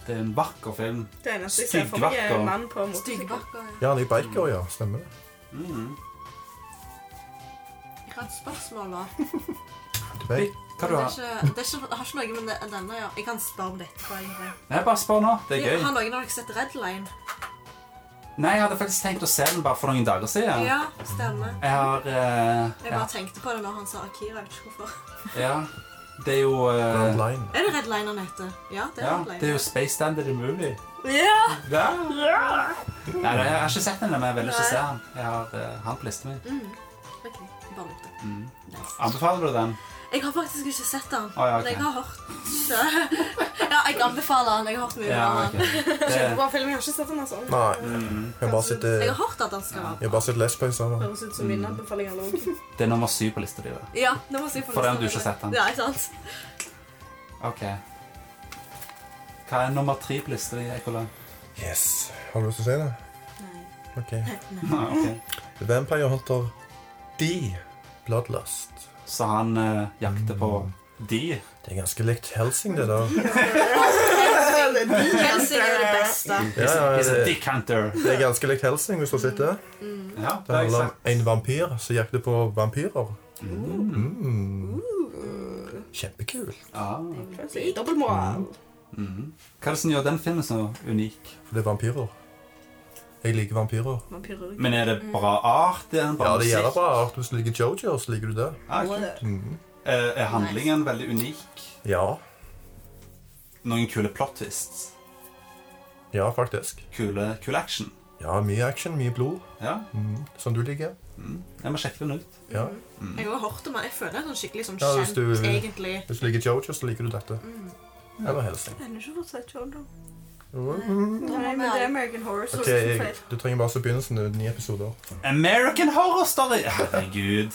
Det er en vakker film.
Det eneste jeg ser for meg, er
Styggvakker.
en mann på motorsykkel.
Styggbakker. ja.
Ja, han er jo biker, ja. Stemmer det.
Mm.
Jeg har et spørsmål, da.
Tilbake.
Hva
Det
du
er
har
ikke, det er ikke, jeg har ikke noe med det- denne å gjøre. Jeg kan spørre om dette. egentlig.
Nei, bare spør nå. Det er gøy.
Har noen av dere sett Red Line?
Nei, jeg hadde faktisk tenkt å se den bare for noen dager siden.
Ja, stemmer.
Jeg har eh,
Jeg
ja,
bare tenkte på det når han sa Akira. Jeg vet ikke hvorfor.
ja. Det er jo eh,
Grand Line.
Er det Red Line han heter? Ja, det er
Ja,
Red Line.
det er jo Space Standard Movie.
Ja!
Ja. Nei, jeg har ikke sett den, men jeg vil ikke
Nei.
se den. Jeg har eh, han på lista mi.
Mm. Ok, bare lytt.
Mm.
Nice.
Anbefaler du den?
Jeg har faktisk ikke sett den.
Å, ja, ok.
Men jeg har hørt Ja, jeg anbefaler den. Jeg har hørt mye
Ja,
om
ok.
den.
Det,
Kjempebra film. Jeg har ikke sett den, altså.
Nei.
mm,
Jeg har bare sett eh,
Jeg har hørt at den skal være
Jeg har bare sett Let's Play sammen.
Høres ut som min
Mm.
anbefaling av noe.
det er nummer syv på lista di. da.
Ja, det må jeg si for
For
neste
den du ikke har
gang.
sett den.
Ja, ikke sant?
Ok. Hva er nummer tre på lista di, Ekola?
Yes. Har du lyst til å si det?
Nei.
Ok.
Ja, ok.
Vampire Hunter D. Bloodlust.
Så han eh, jakter på de.
Det er ganske likt Helsing, det der.
Helsing er det beste.
Ja, ja,
He's a
det-
dick hunter.
Det er ganske likt Helsing, hvis du har sett det.
Ja,
Det
det har jeg
handler om
sagt.
en vampyr som jakter på vampyrer. Mm. Kjempekul.
Ja.
Fancy. Dobbeltmoral.
Mhm. Hva er det som gjør den filmen så unik?
For det er vampyrer. Jeg liker vampyrer.
Vampyrer.
Men er det bra art? Er den bra
Ja, det gjelder
musikk?
bra art. Hvis du liker Jojo, så liker du det.
Ja, kult.
Mm.
Eh, er handlingen veldig unik?
Ja.
Noen kule plot twists?
Ja, faktisk.
Kule, kul action?
Ja, mye action, mye blod.
Ja,
Mm. Som du liker.
mm. jeg må sjekke den ut.
Ja.
Jeg har hørt om han. Jeg føler han er skikkelig sånn
Mm. Ja, hvis
kjent,
du-
egentlig.
Hvis du liker Jojo, så liker du dette. Eller Helsing.
Jeg har ikke fått sett Jojo.
Mm.
Nei, men det er American Horror
Ok, jeg, du trenger bare se begynnelsen. Det er ni episoder.
American Horror Story! Herregud.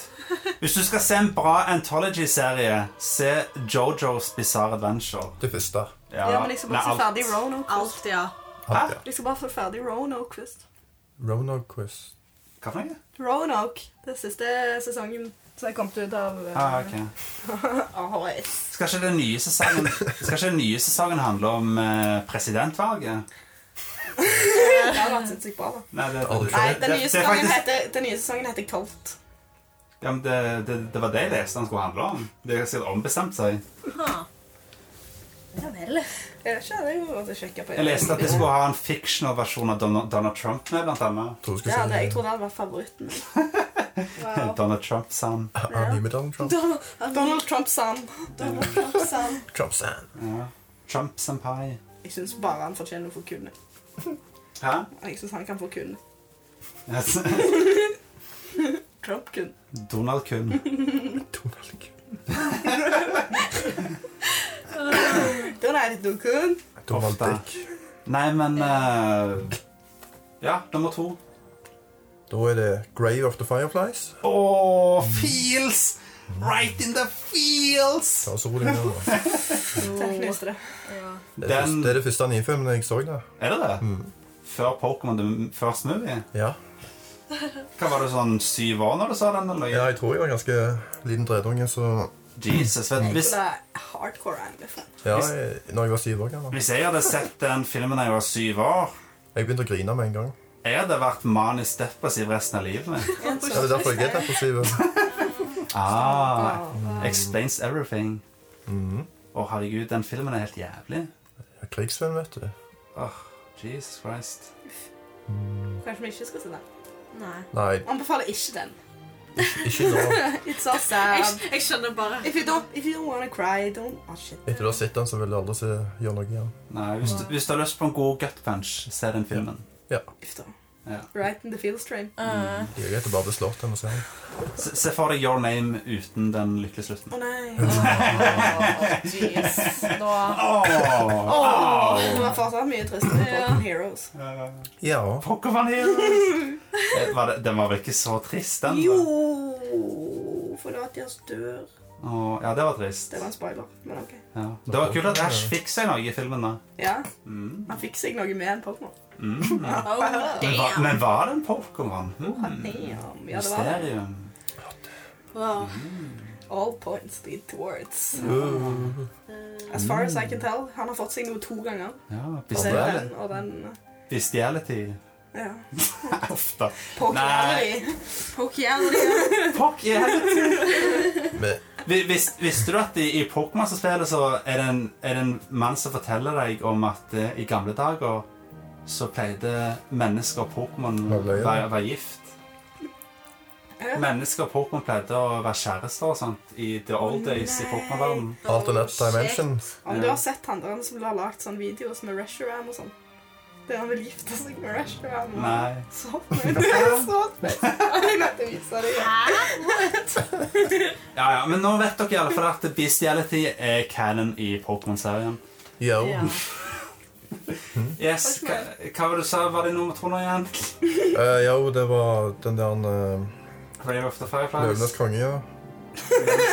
Hvis du skal se en bra anthology-serie, se Jojos Bizarre Adventure.
Det første.
Ja,
liksom,
nei, alt-
sånn- Roanoke
Alt, ja.
Hæ?
Ja.
Jeg skal bare få ferdig Roanoke først.
Roanoke Quiz.
Hva for noe?
Roanoke, det siste sesongen som er kommet ut av eh,
Ah, ok.
AHS.
Skal ikke den nye sesongen, skal ikke den nye sesongen handle om eh, presidentvalget?
Det hadde vært sinnssykt bra, da.
Nei, det,
Aldri.
Nei,
det,
den nye
det, er
sesongen
faktisk,
heter, den nye sesongen heter Colt.
ja, men det, det, det var det jeg leste han skulle handle om. Det har sikkert ombestemt seg.
Ja vel.
Jeg vet ikke, det er jo å sjekke på.
Jeg leste at de skulle ha en fictional versjon av Donald, Donald Trump med, blant annet.
Tror du
Ja, det,
skulle
jeg
si
tror det hadde vært favoritten. min.
Donald Trump sang.
anonyme Donald Trump.
Donald Trump sa han. Donald Trump sa han.
Trump Sand.
Ja. Trump Senpai.
Jeg syns bare han fortjener å få kun.
Hæ?
Jeg syns han kan få kun.
Yes.
Trump kun.
Donald Kun.
Donald Q.
Donald kun.
Donald
Ofte.
Dick.
Nei, men eh, Ja, nummer to.
Da er det Grave of the Fireflies.
Å, feels! Right in the feels!
Ta så rolig ned nå.
Jeg knuste det.
Det er
Den-
det er det første nye filmen jeg så. da.
Er det det? Før Pokémon The First Movie?
Ja.
Hva Var du sånn syv år når du sa den? eller?
ja, jeg tror jeg var en ganske liten dredunge, så
Jesus, vet, du, hvis,
Det er hardcore anime.
ja, jeg, Når jeg var syv år gammel.
hvis jeg hadde sett den filmen da jeg var syv år
Jeg begynte å grine med en gang.
Jeg hadde vært manisk depressiv resten av livet mitt.
Ja, det er derfor jeg er depressiv.
Ah, explains everything. Å, herregud, den filmen er helt jævlig.
Ja, Krigsfilm, vet du.
Jesus Christ.
Kanskje vi ikke skal se den.
Nei.
Nei,
Anbefaler ikke den.
ikke nå.
It's so
Jeg,
sad.
jeg skjønner bare
If you don't, if you don't wanna cry, don't oh shit.
Etter du har sett den, så vil du aldri se, gjøre noe igjen.
Nei, hvis du, hvis du har lyst på en god gut punch, se den filmen.
Uff da.
Ja.
Right in the field stream.
Øh,
Det er greit å bare bli slått enn å se den.
Se, se for deg Your Name uten den lykkelige slutten.
Å nei.
Jeez.
Åh!
Det var fortsatt mye tristere på Open Heroes.
Ja.
Pokémon Heroes! Eh, var det, den var vel ikke så trist, den?
Jo,
da?
for det var at de altså dør.
Åh, ja, det var trist.
Det var en spoiler, men ok.
Ja. Det var kult at Ash fikk seg noe i filmen, da.
Ja,
Mm.
han fikk seg noe med en Pokémon.
Mm.
oh,
Men, var,
damn.
men var det en Pokémon?
Damn,
Hmm.
Ja, det var det.
Mysterium.
Wow.
All points lead towards.
Uh,
As far as I can tell, han har fått seg noe to ganger.
Ja,
Og den,
bestiali-
og den,
bestiality.
ja.
Ofte.
Pokémon.
Pokiality.
Pokiality.
men
Vi- vis- Visste du at i, i Pokémon-spillet så er det, en, er det en mann som forteller deg om at eh, i gamle dager så pleide mennesker og Pokémon å
Var det, ja.
være, være gift. Mennesker og Pokémon pleide å være kjærester og sånt i the old days i Pokémon-verdenen.
alternate dimension.
Om du har sett han der som har lagt sånne videoer som er Reshiram og sånn. Det han vil gifte seg med Reshiram. og-
Nei.
Så fint. Det er så fint. Jeg måtte vise deg.
Ja, ja, men nå vet dere i alle fall at bestiality er canon i Pokémon-serien.
Ja.
Ja.
Yes, hva, hva var det du sa? Var det nummer to nå igjen?
Eh, ja, det var den der uh,
Rave of the Fireflies.
Løvenes konge, ja.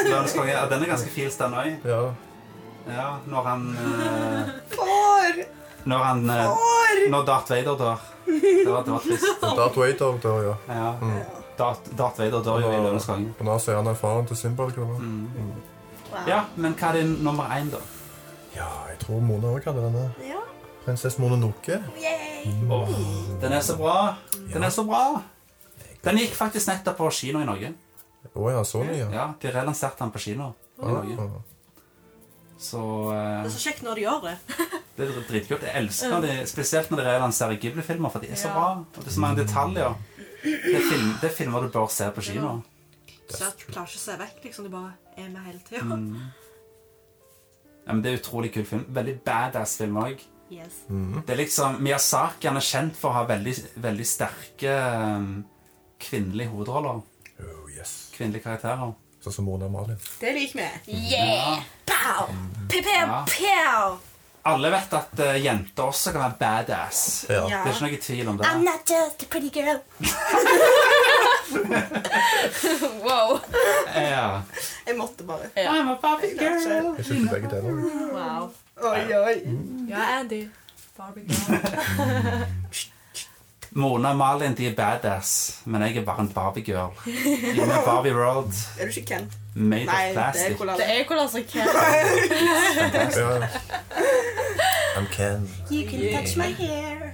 Løvenes konge. Ja, den er ganske fils, den òg.
ja.
Ja, når han eh,
Oi, Får!
Når han eh, Når Darth Vader dør. Det var, det var trist.
Darth Vader dør, ja.
Ja.
Mm.
Darth, Darth Vader dør jo i Løvenes konge.
Og da sier han er faren til Simba. ikke sant?
Mm.
Wow.
Ja, men hva er din nummer én, da?
Ja, jeg tror Mona òg hadde denne.
Ja.
Prinsesse Mononoke.
Åh, den er så bra. Den er så bra. Den gikk faktisk nettopp på kino i Norge.
Å ja, sånn, ja.
Ja, De relanserte den på kino i Norge.
Ah.
Så
Det
eh,
er så kjekt når de gjør det.
det er dritkult. Jeg elsker når de, spesielt når de relanserer Ghibli-filmer, for de er så
Ja.
bra. Og det er så mange detaljer. Det er, film, det er filmer du bør se på kino.
Så jeg klarer ikke å se vekk. liksom De bare er med hele tida.
Mm. Ja, men det er utrolig kul film. Veldig badass film òg.
Yes.
Mhm.
Det er liksom, Miyazaki han er kjent for å ha veldig, veldig sterke eh, kvinnelige hovedroller.
Oh, yes.
Kvinnelige karakterer.
Sånn som Mona Malin.
Det liker vi.
Ja.
Pow!
Ja.
Pipim, pow!
Alle vet at eh, jenter også kan være badass.
Ja.
Det er ikke noe tvil om det.
Ah,
I'm not just a pretty girl. wow.
Ja.
Jeg måtte bare.
Ja.
I'm a puppy girl.
Jeg synes ikke begge deler.
wow.
Oi, oi.
Ja, Andy. Barbie girl.
Mona og Malin de er badass, men jeg er bare en Barbie girl. I med Barbie World,
Er du ikke Ken?
made
Nei,
of
det er
plastic.
Kolal.
Det er jo hvordan som kan.
Ja. I'm Ken.
You can touch my hair.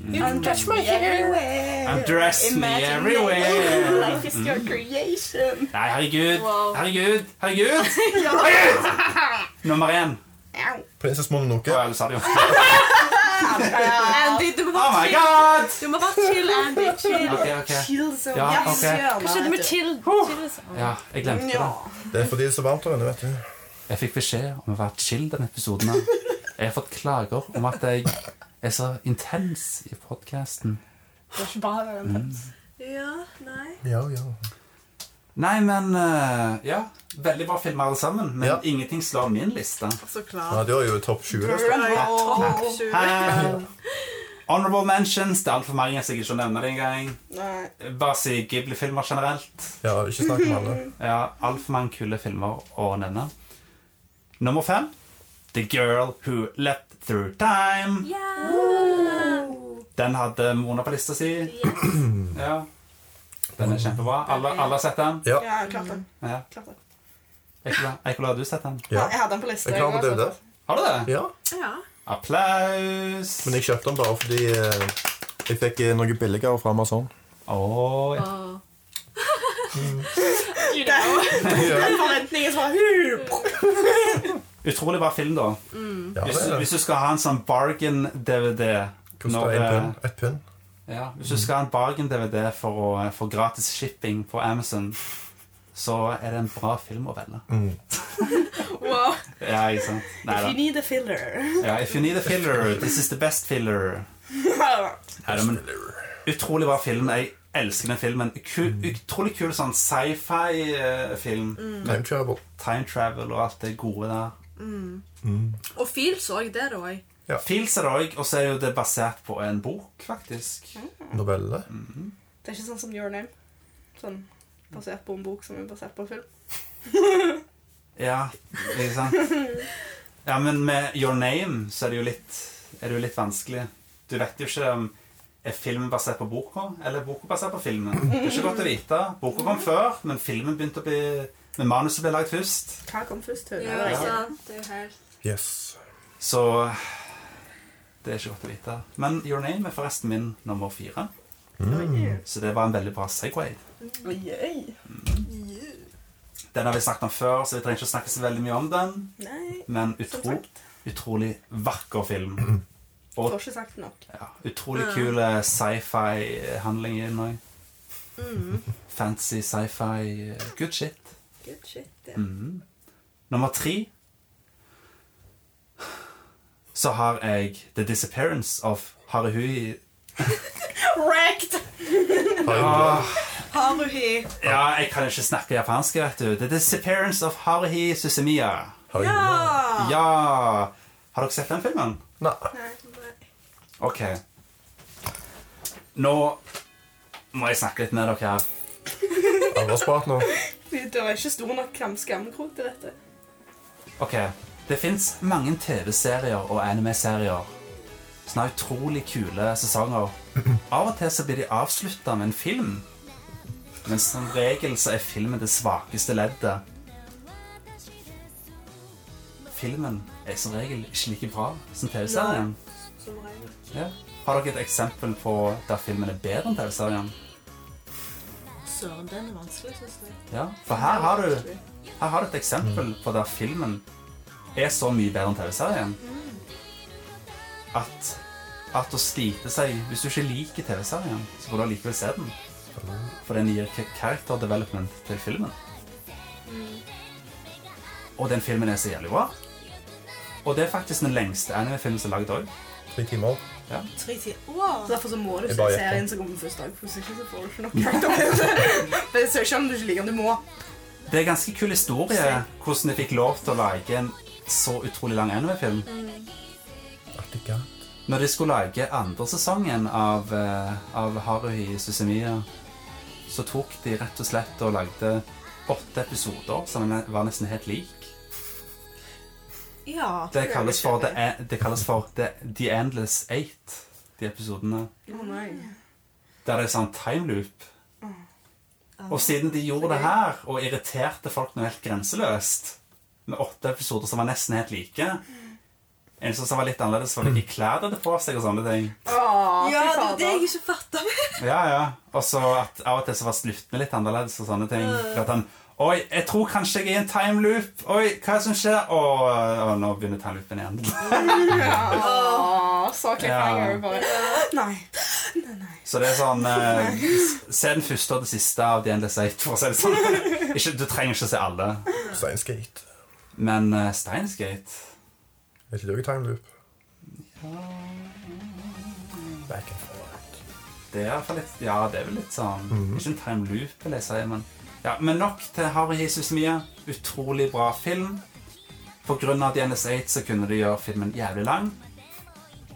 Mm.
Touch my hair.
I'm dressed me
Imagine
everywhere. Mm.
Life is your creation.
Nei, herregud.
Wow.
Herregud. Herregud. herregud. Nummer én.
Au.
Prinsesse Mononoke.
Å, jeg sa det jo.
Andy, du må
Oh
bare
my
chill.
god!
Du må bare chill, Andy. Chill.
Ok, ok.
Chill zone.
Ja,
Yes,
ok.
gjør det,
Hva skjedde med
vet du.
chill?
Huh.
chill- liksom?
Ja, jeg glemte
Ja.
det.
Det er fordi det er så varmt der inne, vet du.
Jeg fikk beskjed om å være chill denne episoden. her. Jeg har fått klager om at jeg er så intens i podkasten.
Det er ikke bare den pølsen.
Ja, nei.
Ja, ja.
Nei, men eh, Ja, veldig bra filmer alle sammen, men
Ja.
ingenting slår min liste.
Så
ja
klart.
det var jo topp 20. da.
Eh, honorable mentions. Det er altfor mange, så jeg ikke nevner det engang.
Nei.
Bare si Ghibli-filmer generelt.
Ja, ikke snakk om alle.
Ja, altfor mange kule filmer å nevne. Nummer fem The Girl Who Leapt Through Time. Den hadde Mona på lista si. Ja. Den er kjempebra. Alle, alle har sett den.
Ja.
Ja, klart det.
Ja.
Klart det.
Eikola, Eikola, har du sett den?
ja.
Jeg hadde den på lista.
Jeg klarer med
jeg
DVD.
var sånn.
Har du det?
Ja.
Ja.
Applaus!
Men jeg kjøpte den bare fordi eh, jeg fikk eh, noe billigere fra Amazon.
Åh, ja.
Den forventningen som var hup.
Utrolig bra film, da.
Ja,
Hvis,
det er det.
hvis du skal ha en sånn bargain-DVD
Koster en pund. Et pund.
ja, Hvis du skal ha en bargain-DVD for å eh, få gratis shipping på Amazon, så er det en bra film å velge.
Mm.
Wow.
Ja, ikke sant? Nei
If
da.
you need a filler.
Ja, if you need a filler, this is the best filler. Nei, da, men, utrolig bra film. Jeg elsker den filmen. Ku, utrolig kul sånn sci-fi-film.
Time travel.
Time travel og alt det gode der.
Mm.
Og Fields òg. Det er det òg.
Feels er det òg, og så er jo det basert på en bok, faktisk.
Novelle.
Mm.
Det er ikke sånn som Your Name. Sånn basert på en bok som er basert på en film.
Ja, ikke sant? Ja, men med Your Name så er det jo litt, er det jo litt vanskelig. Du vet jo ikke om er filmen basert på boka, eller er boka basert på filmen. Det er ikke godt å vite. Boka kom før, men filmen begynte å bli Men manuset ble lagd først.
Hva kom først? Høna
Ja,
eller
ikke
egget?
sant? Det er jo helt
Yes.
Så det er ikke godt å vite. Men Your Name er forresten min nummer fire.
Mm.
Mm.
Så det var en veldig bra Segway.
Oi, oi.
Den har vi snakket om før, så vi trenger ikke å snakke så veldig mye om den.
Nei,
Men
som
utro,
sagt.
utrolig vakker film.
Får ikke sagt det nok.
Ja, utrolig kul eh, sci-fi-handling i den òg.
Mm.
Fancy sci-fi. eh, Good shit.
good shit. ja.
Mhm. Nummer tre så har jeg The Disappearance of Haruhi
Correct! Ah.
Åh,
Haruhi.
Ja, jeg kan ikke snakke japansk, vet du. The Disappearance of Haruhi Susemiya.
Har jeg
Ah.
Ja!
Ja! Har dere sett den filmen?
Nei.
Ok. Nå må jeg snakke litt med dere her.
Alvorsprat nå.
Det var ikke stor nok kramskammekrok til dette.
Ok. Det fins mange TV-serier og anime-serier som har utrolig kule sesonger. Av og til så blir de avslutta med en film, men som regel så er filmen det svakeste leddet. Filmen er som regel ikke like bra som TV-serien.
Som regel.
Ja. Har dere et eksempel på der filmen er bedre enn TV-serien?
Søren, den er vanskelig, syns jeg.
Ja, for her har du Her har du et eksempel på der filmen er så mye bedre enn TV-serien at, at å slite seg Hvis du ikke liker TV-serien, så får du allikevel se den. For den gir ka- character development til filmen. Og den filmen er så jævlig bra. Og det er faktisk den lengste anime-filmen som er lagd òg.
Tre timer.
Tre tider. Wow.
Så Derfor så må du
Jeg
se
bare gjetter.
serien som kommer første dag. For hvis ikke så får du ikke nok karakter. Men Selv om du ikke liker den, du må.
Det er en ganske kul historie hvordan de fikk lov til å lage en så utrolig lang anime-film.
At ikke.
Når de skulle lage andre sesongen av, eh, av Haruhi Susemiya, så tok de rett og slett og lagde åtte episoder som ne- var nesten helt lik.
Ja.
Det kalles for, the, E- det kalles for the, the Endless Eight, de episodene.
Å nei.
Der det er sånn time loop. Og siden de gjorde det her og irriterte folk noe helt grenseløst, med åtte episoder som var nesten helt like En som var litt annerledes, var hvilke klær de hadde på seg og sånne ting.
Åh,
Ja,
fy
det er det
fader.
jeg ikke fatter.
Ja, ja. Og så at av og til så var sluttene litt annerledes og sånne ting. For at han Oi, jeg tror kanskje jeg er i en timeloop. Oi, hva er det som skjer? Og, og nå begynner timeloopen igjen.
Åh, så cliffhanger.
Ja.
Bare. Nei.
Så det er sånn eh, s- Se den første og det siste av The Endless Eight, for å si det sånn. Ikke, du trenger ikke å se alle.
Steinsgate.
Men uh, Steinsgate
Er ikke det også time loop? Back and forth.
Det er i hvert fall litt Ja, det er vel litt sånn Ikke en time loop, vil jeg si, men ja, Men nok til Harry Hisus Mia. Utrolig bra film. På grunn av DNS8 så kunne de gjøre filmen jævlig lang.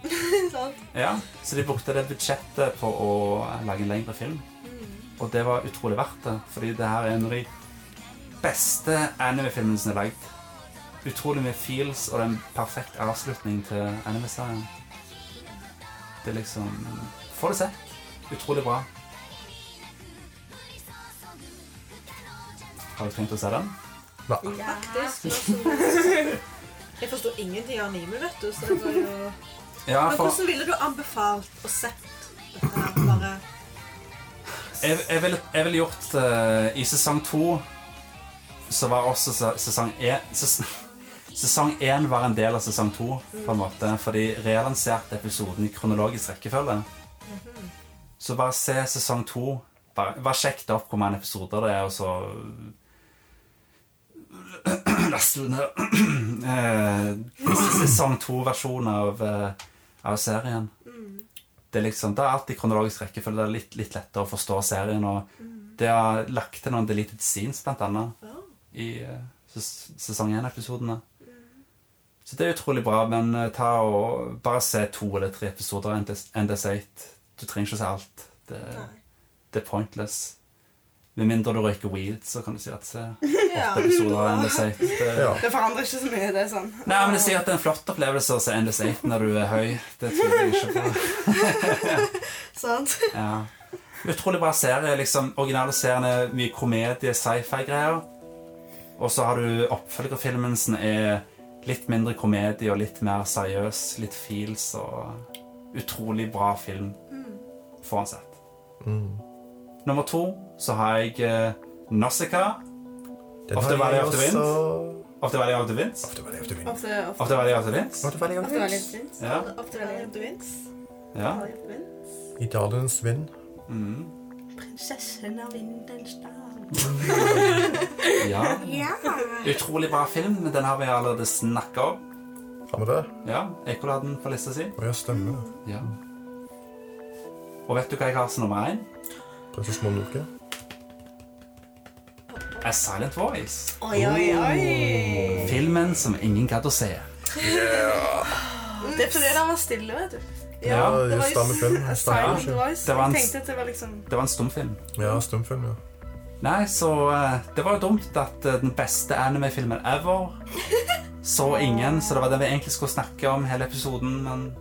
Sant.
Ja, Så de brukte det budsjettet på å lage en lengre film. Og det var utrolig verdt det, fordi det her er en av de beste anime-filmene som er lagd. Utrolig mye feels og det er en perfekt avslutning til anime-serien. Det er liksom Få det sett. Utrolig bra. Har du tenkt å se den?
Faktisk. Jeg forsto ingenting av anime, vet du. Så det var jo...
Ja,
Men
for
hvordan ville du anbefalt og sett dette her bare
jeg, jeg, ville, jeg ville gjort eh, I sesong to så var også se- sesong én ses, Sesong én var en del av sesong to, på en måte, for de relanserte episoden i kronologisk rekkefølge. Så bare se sesong to. Bare, bare sjekk det opp hvor mange episoder det er, og så Last ned Eh, Sesong to-versjonen av, eh, av serien det er liksom, det er alt i kronologisk rekkefølge. Det er litt, litt lettere å forstå serien. Og det har lagt til noen deleted scenes, blant annet, i eh, ses sesong 1-episodene. Så det er utrolig bra, men eh, ta og bare se to eller tre episoder av NDS- NDS8. Du trenger ikke å se alt. Det, det er pointless. Med mindre du røyker weed, så kan du si at se
Ja.
åtte episoder av NDS8. Det-
Ja.
Det forandrer ikke så mye. det er sånn.
Nei, men jeg sier at det er en flott opplevelse å se NDS8 når du er høy. Det tror jeg ikke på.
Sant?
Ja. Utrolig bra serie. liksom Originale serien er mye komedie, sci-fi-greier. Og så har du oppfølgerfilmen som er litt mindre komedie og litt mer seriøs. Litt feels og Utrolig bra film. Får han sett. Nummer to så har jeg eh, Nausicaa.
Den
Ofte
har
Valley
jeg
of the Wind.
også-
Ofte veldig av til Vince.
Ofte Valley of the Wind.
Ofte, ofte,
Ofte veldig av til Vince.
Ofte Valley of
ofte
the
veldig
Wind.
fint.
Ja.
Ofte veldig
Vins.
ja.
I dalens vind.
Mm.
Prinsessen av Vindelstad.
ja. Utrolig bra film. men Den har vi allerede snakka om.
Har vi det?
Ja, Ekola hadde den på lista si.
Å ja, stemmer.
Ja. Og vet du hva jeg har som nummer én?
Prinsesse Mononoke.
A Silent Voice. Oh.
Oi, oi, oi.
Filmen som ingen gadd å se.
Det er fordi det var stille, vet du.
Ja,
Ja,
det var jo
stammer film.
s-
Stammer
silent
film.
voice.
Det var en
Jeg
s-
tenkte at det var liksom
Det var en stumfilm.
Ja, stumfilm, ja.
Nei, så eh, det var jo dumt at eh, den beste anime-filmen ever så ingen, så det var det vi egentlig skulle snakke om hele episoden, men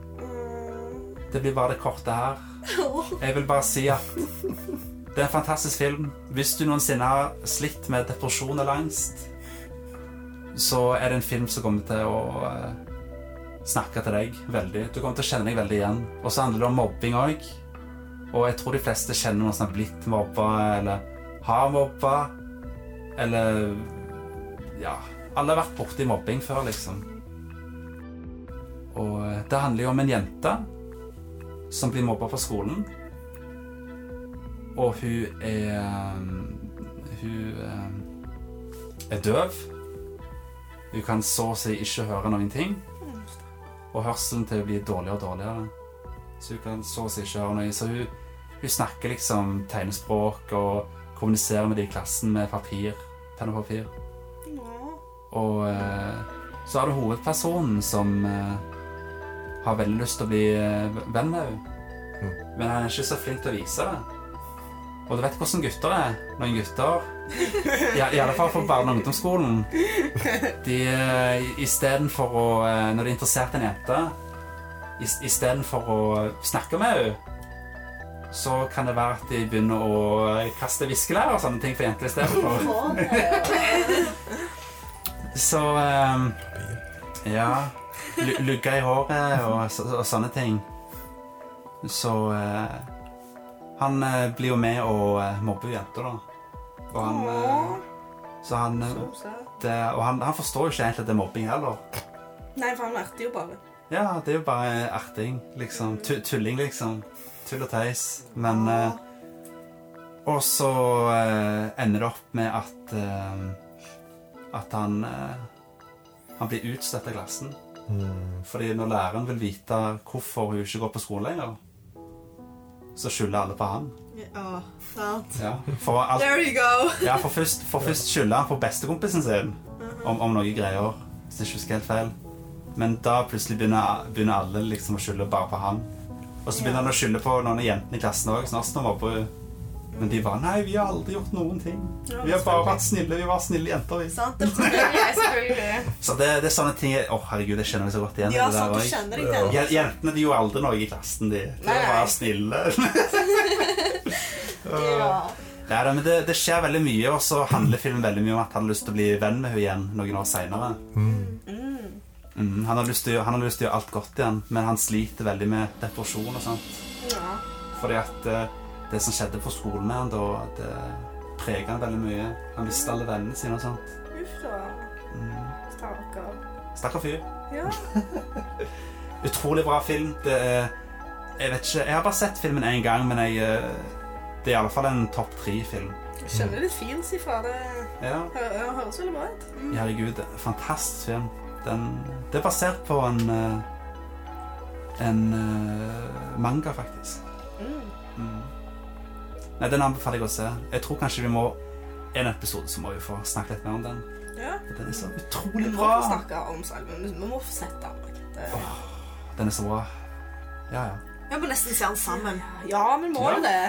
det blir bare det korte her. Jeg vil bare si at det er en fantastisk film. Hvis du noensinne har slitt med depresjon eller angst, så er det en film som kommer til å eh, snakke til deg veldig. Du kommer til å kjenne deg veldig igjen. Og så handler det om mobbing òg. Og jeg tror de fleste kjenner noen som har blitt mobba, eller har mobba, eller Ja. Alle har vært borti mobbing før, liksom. Og eh, det handler jo om en jente som blir mobba på skolen. Og hun er Hun eh, er døv. Hun kan så å si ikke høre noen ting. Og hørselen til hun blir dårligere og dårligere. Så hun kan så å si ikke høre noe. Så hun, hun snakker liksom tegnespråk og kommuniserer med de i klassen med papir. Penn og papir. Og eh, så er det hovedpersonen som eh, har veldig lyst til å bli eh, venn med henne. Men han er ikke så flink til å vise det. Og du vet hvordan gutter er. Noen gutter, i, i alle fall for barne- og ungdomsskolen, de eh, istedenfor å eh, Når de er interessert i en jente, is- istedenfor å snakke med henne, så kan det være at de begynner å eh, kaste viskelær og sånne ting for jenter istedenfor. Så ehm, Ja. lu- Lugge i håret og, så- og sånne ting. Så eh, Han eh, blir jo med og eh, mobber jenter, da. Og han eh, Så han eh, det, Og han, han forstår jo ikke egentlig at det er mobbing heller.
Nei, for han lærte jo bare.
Ja, det er jo bare erting, liksom. Tu tulling, liksom. Tull og teis. Men eh, Og så eh, ender det opp med at eh, At han eh, Han blir utstøtt av klassen. Fordi når læreren vil vite hvorfor hun ikke går på skolen lenger, så skylder alle på han.
Ja, sant.
Ja, for, alt,
There you go.
ja, for først, for først skylder han på bestekompisen sin om, om noen greier. Hvis jeg ikke husker helt feil. Men da plutselig begynner, begynner alle liksom å skylde bare på han. Og så begynner han å skylde på noen av jentene i klassen òg. Men de bare Nei, vi har aldri gjort noen ting. Vi har bare vært snille. Vi var snille jenter. vi.
Sant, det forteller jeg selvfølgelig.
Så det, det er sånne ting jeg- Å, herregud, jeg kjenner meg så godt igjen i
Ja,
det der
sant, du
også.
kjenner deg den.
Jen- Jentene de gjorde aldri noe i klassen, de. De
Nei,
var
nei.
bare snille.
Ja.
Nei, da, men det, det skjer veldig mye, og så handler filmen veldig mye om at han har lyst til å bli venn med henne igjen noen år seinere. Mm, han, har lyst til å gjøre- han har lyst til å gjøre alt godt igjen, men han sliter veldig med depresjon og sånt. Fordi at eh, det som skjedde på skolen med han da, det preger han veldig mye. Han mista alle vennene sine og sånt.
Uff da.
Mm.
Stakkar.
Stakkar fyr.
Ja.
Utrolig bra film. Det er Jeg vet ikke, jeg har bare sett filmen én gang, men jeg eh, Det er iallfall en topp tre-film.
Jeg skjønner litt feels ifra det.
Ja.
Hø- Høres veldig bra ut.
Herregud, fantastisk film. Den, det er basert på en eh, En eh, manga, faktisk. Mm. Nei, den anbefaler jeg å se. Jeg tror kanskje vi må En episode så må vi få snakke litt mer om den.
Ja.
For Den er så utrolig
Vi må få
bra!
snakke om salmen. Vi må få sett den. Margrethe.
Den er så bra. Ja, ja.
Jeg må nesten se den sammen.
Ja, Mm. vi må
Ja.
jo det.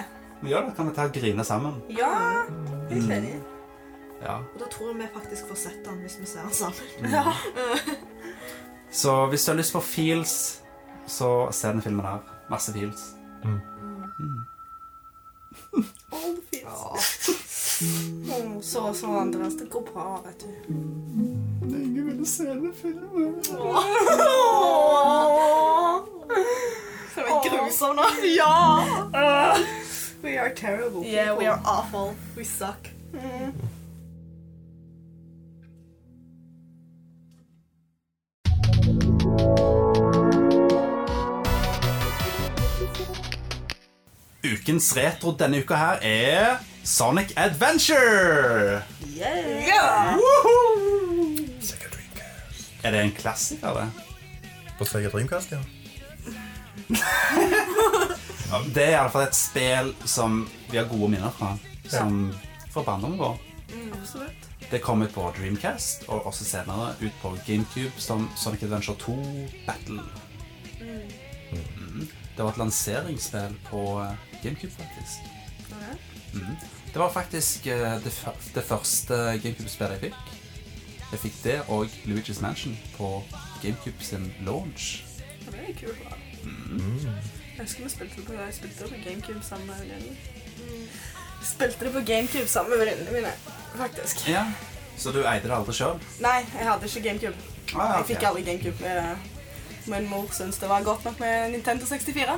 Vi gjør det. Kan vi ta og grine sammen?
Ja. Helt enig.
Ja.
Og da tror jeg vi faktisk får sett den hvis vi ser den sammen.
Så hvis du har lyst på feels, så se den filmen her. Masse feels.
All the feels. Åh, Så så Andreas, det går bra, vet du.
Det var grusom nå.
We are terrible.
Yeah, we are awful. We suck.
Ukens retro denne uka her er Sonic Adventure! Yeah!
Sega Dreamcast.
Er det en klassiker, det?
På Sega Dreamcast, ja.
Det er iallfall et spill som vi har gode minner fra. Som fra barndommen vår.
Mm,
Absolutt.
Det kom ut på Dreamcast, og også senere ut på GameCube som Sonic Adventure 2 Battle.
Mm.
Mhm. Det var et lanseringsspill på eh, GameCube, faktisk. Mm. Mhm. Det var faktisk eh, det, fyr- det første GameCube-spillet jeg fikk. Jeg fikk det og Luigi's Mansion på GameCube sin launch.
Og det er kult. da. Mm. Jeg husker vi spilte det på, jeg spilte det på GameCube sammen med venninnen.
Spilte det på GameCube sammen med venninnene mine, faktisk.
Ja, Så du eide det aldri sjøl?
Nei, jeg hadde ikke GameCube.
Ah,
Jeg fikk aldri GameCube. eh, Min mor syntes det var godt nok med Nintendo 64.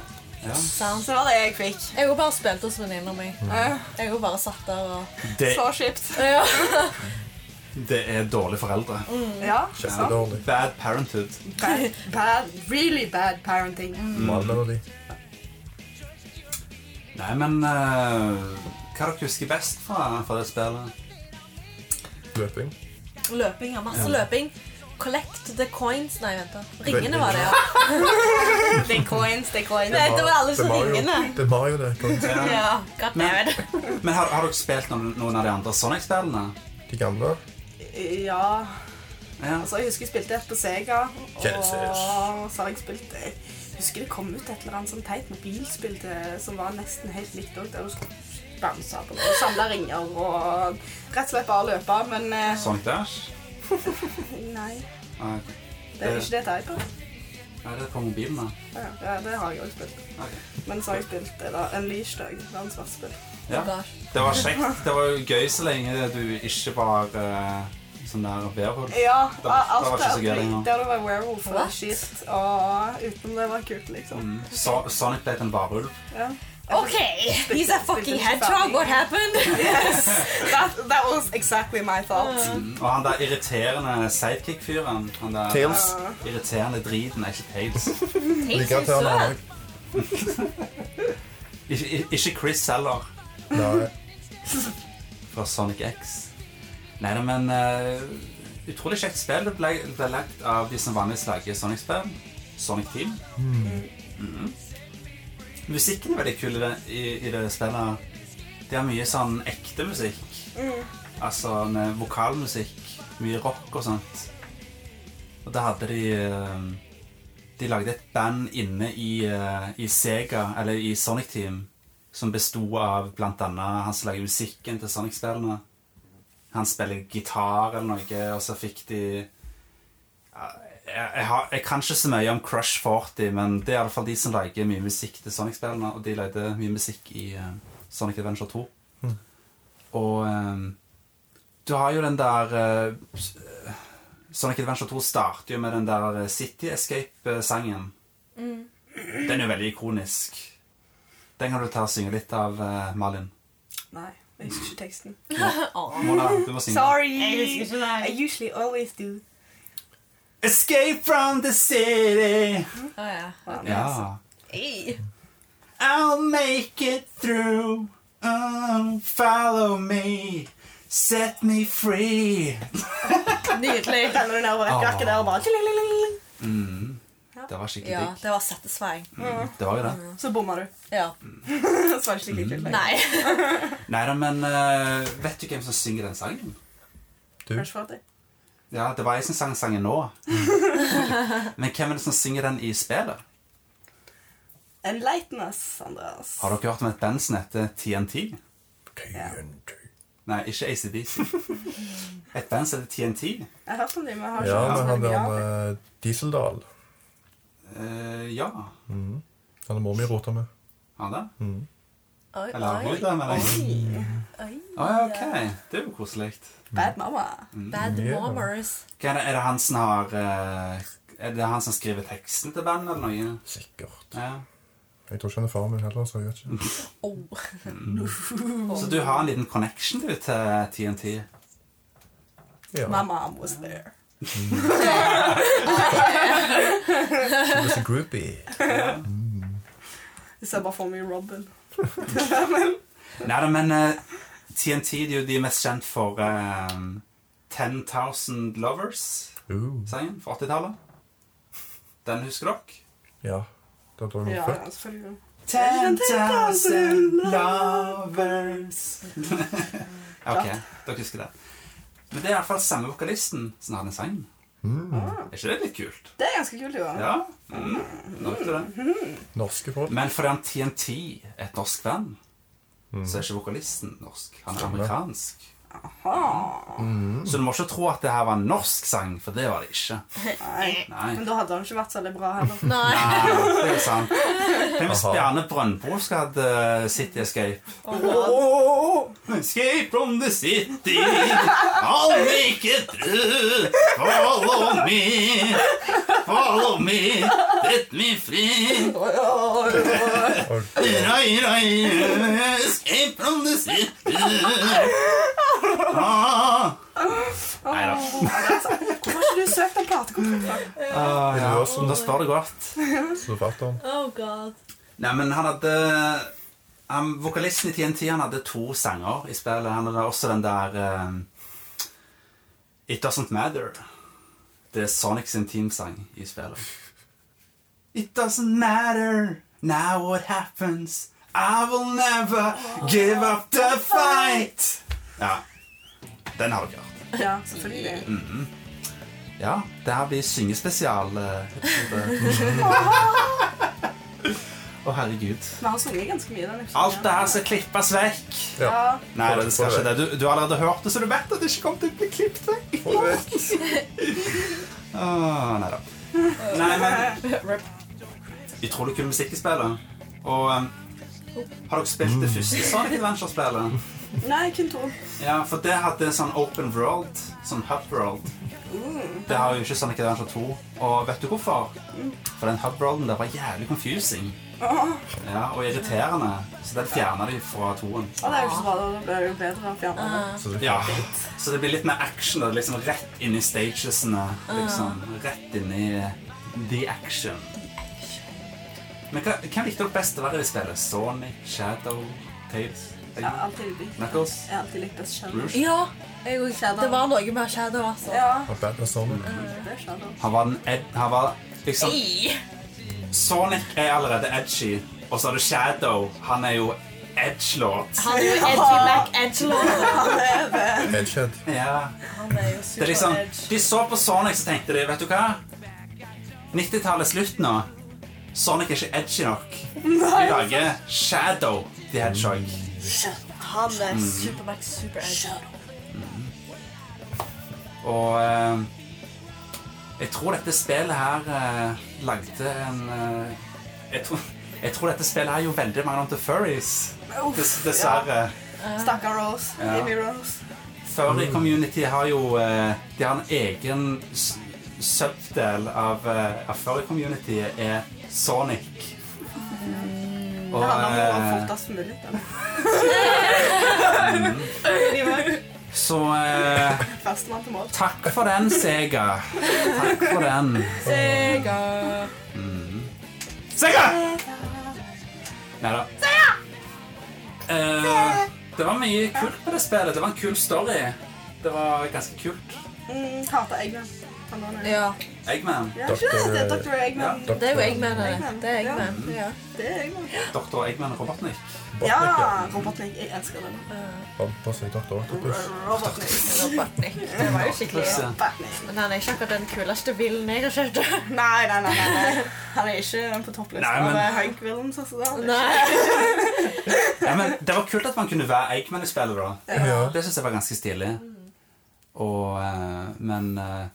Ja.
Så det var det jeg fikk.
Jeg har bare spilt hos venninna mi.
Eh,
Jeg har bare satt der og
Det,
Så kjipt.
ja.
det er dårlige foreldre.
Ja.
Kjempedårlig.
Bad parenthood.
Bad, bad, really bad parenting.
Mm.
Malmelodi.
Nei, men eh, hva dere husker best fra, fra det spillet?
Løping.
Løping, ja. Masse løping. Collect the coins Nei, vent. da. Ringene var det, ja.
The coins, the coins.
Nei, det var alle
Det
som
var jo-
ringene.
Det er Mario, det. Kom.
Ja, Ah, god damn it.
Men har, har dere spilt noen, noen av de andre Sonic-spillene?
De gamle.
Ja,
Ja.
altså jeg husker jeg spilte et på Sega.
Jesus.
Og så har jeg spilt jeg Husker det kom ut et eller annet sånn teit mobilspill til- som var nesten helt likt òg, der du skulle bounce på og samle ringer og rett og slett bare løpe, men eh,
Sonic Dash?
Nei.
Ah, ok.
Det er ikke det jeg på.
Nei, det er på mobilen, da.
Ja, det har jeg òg spilt.
Ok.
Men så har jeg spilt det da, Unleashed òg. Verdens verste spill.
Ja. Det var kjekt. Det var jo gøy så lenge du ikke var eh, sånn der werewolf.
Ja,
Det var- det var
alt
ikke så gøy
det
lenger.
der du var werewolf og
What?
shit, og utenom det var kult, liksom.
Mm. So Sonic ble til en varulv.
Ja.
OK, he's a fucking hedgehog. What happened?
Yes! That, that was exactly my thought.
Mm. Og han der irriterende sidekick-fyren Han der
Tails.
irriterende driten er ikke Tails.
Tenk
Like
så
at han har
søt.
Ikke, i- ikke Chris heller,
Nei.
fra Sonic X. Nei da, men eh, Utrolig kjekt spill. Det ble, det ble lagt av de som vanligvis lager Sonic-spill. Sonic Team. Mhm. Musikken er veldig kul i det, i, i det spillet. De har mye sånn ekte musikk. Altså med vokalmusikk. Mye rock og sånt. Og da hadde de eh, De lagde et band inne i, eh, i Sega, eller i Sonic Team, som besto av blant annet han som lager musikken til Sonic-spillene. Han spiller gitar eller noe, og så fikk de Ja, jeg, jeg, har, jeg kan ikke så mye om Crush 40, men det er iallfall de som lager mye musikk til Sonic-spillene, og de lagde mye musikk i eh, Sonic Adventure 2. Og eh, du har jo den der eh, s- eh, Sonic Adventure 2 starter jo med den der eh, City Escape-sangen.
Mm.
Den er jo veldig ikonisk. Den kan du ta og synge litt av, eh, Malin.
Nei, jeg husker ikke teksten.
Mona, du må synge.
Sorry! I usually always do.
Escape from the city.
Å, ja.
Ja.
Ei.
I'll make it through. Oh, follow me. Set me free.
Nydelig.
Renner du ned og
Ah.
rekker akkurat der og bare tling-tling-tling-tling.
Mm. Det var skikkelig
Ja, Mm.
digg.
det var satisfying.
Det var jo det.
Så bommer du.
Ja.
Så var det ikke like kult. lenger.
Nei.
Nei da, men eh, vet du hvem som synger den sangen?
Crush 40.
Ja, det var jeg som sang sangen nå. men hvem er det som synger den i spillet?
Enlighten us, Andreas.
Har dere hørt om et band som heter TNT?
Ja.
Nei, ikke ACDC. Et band som heter TNT?
Jeg har hørt om dem, men jeg har ikke
Ja,
hørt
men
så
han
mye
der
av dem.
eh, Dieseldal.
Eh, ja.
Han er mor mi rota med.
Har han det?
Oi,
Eller
oi,
hun, da, mener jeg.
oi.
Å ja, ok. Det er jo koselig.
Bad Mama.
Mm.
Bad
Ja.
momers.
Hva er det, er det han som har eh, Er det han som skriver teksten til bandet eller noe?
Sikkert.
Ja.
Jeg tror ikke han er faren min heller, så jeg vet ikke.
Oh. Mm.
Så du har en liten connection du til TNT?
Ja,
My mom was there.
she was a groupie.
Jeg ser bare for meg Robin.
Nei da, men eh, TNT de er jo de mest kjent for eh, 10,000 Lovers-sangen
Uh,
fra 80-tallet. Den husker dere?
ja. Da da hun
Ja,
var
ja,
født.
selvfølgelig.
10,000 lovers Ok, dere husker det. Men det er iallfall samme vokalisten som har den sangen. Er ikke det litt kult?
Det er ganske kult, jo.
Ja. Mm. Nok til det.
Norske folk.
Men fordi han TNT er et norsk band, så er ikke vokalisten norsk. Han er amerikansk.
Aha.
Så du må ikke tro at det her var en norsk sang, for det var det ikke.
Nei.
Nei.
Men da hadde han ikke vært så veldig bra heller.
Nei.
Nei, det er sant. Tenk hvis Bjarne Brøndbo skal ha eh, City Escape. Oh, escape from the city, I'll make it through. Follow me, follow me, let me free. Ira, ira, ira, escape from the city. Ah. Nei da.
Hvorfor har ikke du søkt om platekontrakt? da?
ja. Da står det godt.
Så fatter han.
Oh god.
Nei, men han hadde han, Vokalisten i TNT han hadde to sanger i spillet. Han hadde også den der eh, It Doesn't Matter. Det er Sonic sin teamsang i spillet. It doesn't matter now what happens. I will never give up the fight. Ja. Den har dere hørt.
Ja, selvfølgelig.
Ja, det her blir syngespesial. eh, episode. Å, herregud.
Vi har sunget ganske mye i den episoden.
Alt det her skal klippes vekk.
Ja.
Nei, det skal ikke det. Du, du har allerede hørt det, så du vet at det ikke kommer til å bli klippet vekk.
Og du vet,
Åh, nei da. Nei, men Utrolig kul musikk i spillet. Og um, har dere spilt det første Sonic Adventure-spillet?
Nei, kun to.
Ja, for det hadde en sånn open world. Sånn hub world. Det har jo ikke Sonic Adventure 2. Og vet du hvorfor? For den hub worlden der var jævlig confusing. Ja, Og irriterende. Så den fjerna de fra toen.
Og det er jo ikke så bra, da ble det jo bedre å fjerne det.
så det-
Ja, så det blir litt mer action. da. Liksom rett inn i stagesene. Liksom, rett inn i the action. Men hva, hvem likte dere best å være i spillet? Sonic, Shadow, Tails,
Jeg har alltid likt,
Knuckles,
jeg har alltid likt best Shadow.
Rouge?
Ja, det var noe med Shadow, altså.
Ja,
og Batman Sonic.
det er Shadow.
Han var den ed... Han var liksom Sonic er allerede edgy, og så har du Shadow. Han er jo edgelord.
Han er jo edgy black edgelord.
Edgehead.
Ja.
Han er
Det
jo
er
super
liksom,
edge.
de så på Sonic så tenkte de, vet du hva? 90-tallet er slutt nå. Sonic er ikke edgy nok. Vi lager Shadow the Hedgehog.
Han er super black, super edge.
Og eh, jeg tror dette spillet her eh, lagde en eh, jeg, tror, jeg tror dette spillet her gjorde veldig mange om til furries. Dess, dessverre.
Stakkar Rose.
Ja.
Baby Rose.
Furry community har jo eh, De har en egen s- subdel av, eh, av furry community er Sonic. Og,
Det handler om å være
eh,
fortest mulig. da.
Mm. så eh,
Førstemann til mål.
takk for den, Sega. Takk for den. Mm.
Sega.
Sega! Nei da. Eh, det var mye kult på det spillet. Det var en kul story. Det var ganske kult.
Mm, Hater Eggman. Han var nøye.
Ja.
Eggman.
Ja, ikke det? Det er Dr. Eggman.
Dr.
Det er jo Eggman, det. Det er Eggman. Ja.
Det er Eggman.
Dr. Eggman og Robotnik.
Robotnik,
Ja!
ja.
Robotnik. Jeg elsker den.
Robotnik, sier Dr. Octopus.
Robotnik.
Robotnik. Det var jo skikkelig
Plutselig.
Batman.
Men han er ikke akkurat den kuleste bilen jeg har kjøpt.
Nei, nei, nei, nei. nei. Han er ikke den på topplista
Nei, men-
av Hank Williams. Altså, det er han ikke.
Nei.
Ja, men det var kult at man kunne være Eggman i spillet, da.
Ja.
Det syns jeg var ganske stilig. Og eh, Men eh,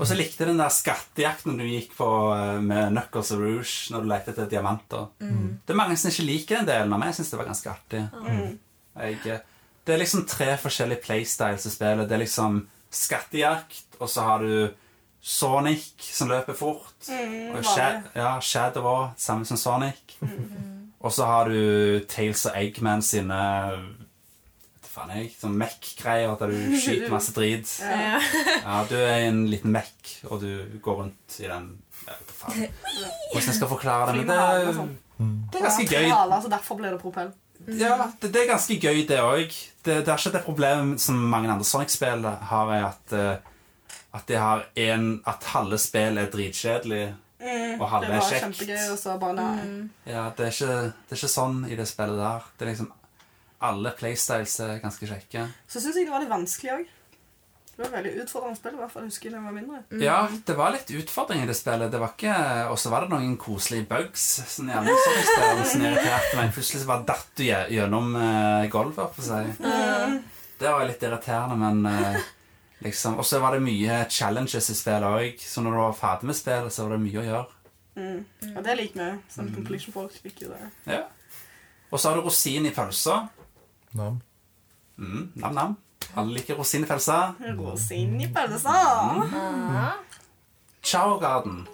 Og så likte jeg den der skattejakten du gikk på eh, med Knuckles og Rouge når du lette etter diamanter.
Mm.
Det er mange som ikke liker den delen av meg. Jeg syns det var ganske artig.
Ah. Mm.
Jeg, eh, det er liksom tre forskjellige playstyles i spillet. Det er liksom skattejakt, og så har du Sonic som løper fort.
Mm,
og Sha
vanlig.
ja, Shadow også, samme som Sonic. Og så har du Tails og Eggman sine Vet du faen jeg, sånn mech-greier der du skyter masse drit.
Ja.
Ja, du er en liten mech, og du går rundt i den Jeg vet da faen hvordan jeg skal forklare det, men det,
Flyvehale og sånn.
det er ganske
Ja,
gøy.
hale, altså, derfor blir det propell.
Ja, det, det er ganske gøy, det òg. Det, det er ikke det problemet som mange andre Sonic-spill har, er at, eh, at, de har en, at halve spill er dritkjedelig, og
Mm, Det
halve
var
er kjekt.
kjempegøy, og så bare nei.
Ja, det er, ikke, det er ikke sånn i det spillet der. Det er liksom Alle playstyles er ganske kjekke.
Så syns jeg det var litt vanskelig òg. Det var veldig utfordrende spill, i hvert fall husker jeg da jeg var mindre.
Ja, det var litt utfordring i det spillet. Det var ikke, Og så var det noen koselige bugs som gjerne Sonic-spill som irriterte meg. Plutselig så bare datt du gje- gjennom eh, gulvet, for å si. Det var litt irriterende, men eh, liksom Og så var det mye challenges i spillet òg, så når du var ferdig med spillet, så var det mye å gjøre.
Mm. Og det liker vi.
Mm.
Sånn completion-folk liker det.
Ja. Og så har du rosin i pølsa.
Nam.
Mm, nam, nam. Alle liker rosin i pølsa.
Rosin i pølsa!
Mm. Ciao Garden.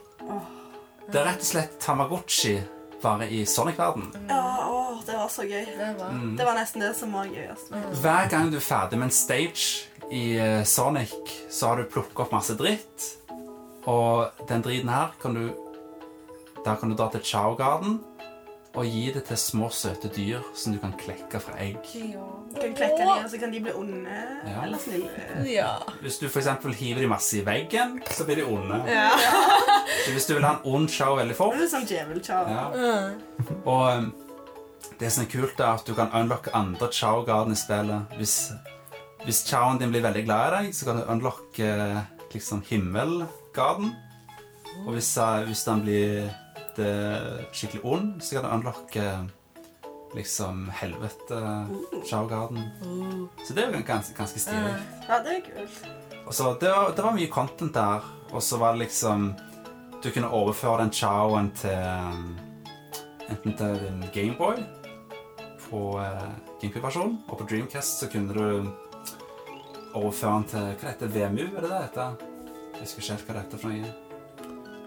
Det er rett og slett Tamagotchi bare i Sonic-verden.
Mm.
Ja, å, det var så gøy.
Det var
Mm.
Det var nesten det som var altså. gøyest.
Hver gang du er ferdig med en stage i eh, Sonic, så har du plukket opp masse dritt. Og den driten her kan du Der kan du dra til Ciao Garden og gi det til små, søte dyr som du kan klekke fra egg.
Du kan klekke dem, og så kan de bli onde
Ja.
eller snille.
Ja.
Hvis du for eksempel hiver de masse i veggen, så blir de onde.
Ja.
Så hvis du vil ha en ond Ciao veldig
Det
fort
er litt sånn djeveltjall.
ja. Og um, det som er kult, er at du kan unlocke andre Chow-garden i spillet. Hvis, hvis Chowen din blir veldig glad i deg, så kan du unlocke eh, liksom himmelgarden. Og hvis, eh, hvis den blir det, skikkelig ond, så kan du unlocke liksom helvete Chow-garden. Så det er jo ganske, ganske stilig.
Ja, det er kult.
Og så Altså, det, var, det var mye content der. Og så var det liksom Du kunne overføre den chowen til um, Enten til din Gameboy på uh, Gameboy-versjonen, og på Dreamcast så kunne du overføre den til Hva heter det? VMU? Er det det heter? Jeg husker ikke helt hva det heter for noe.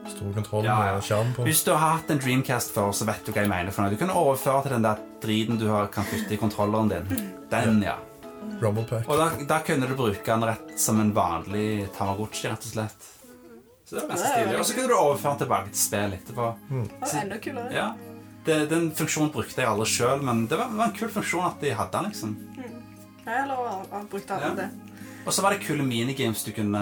Stor kontroll
Ja, ja.
med skjerm på.
Hvis du har hatt en Dreamcast før, så vet du hva jeg mener. for noe. Du kunne overføre til den der driten du har, kan putte i kontrolleren din. Den, ja.
Rumble pack.
Og da, da kunne du bruke den rett som en vanlig Tamagotchi, rett og slett. Så det var ganske stilig. Og så kunne du overføre den tilbake til spillet etterpå.
Det var enda kulere.
Ja. Det, den funksjonen brukte jeg aldri sjøl, men det var, var en kul funksjon at de hadde den. liksom.
Ja, eller han brukte
Ja.
alle det.
Og så var det kule minigames du kunne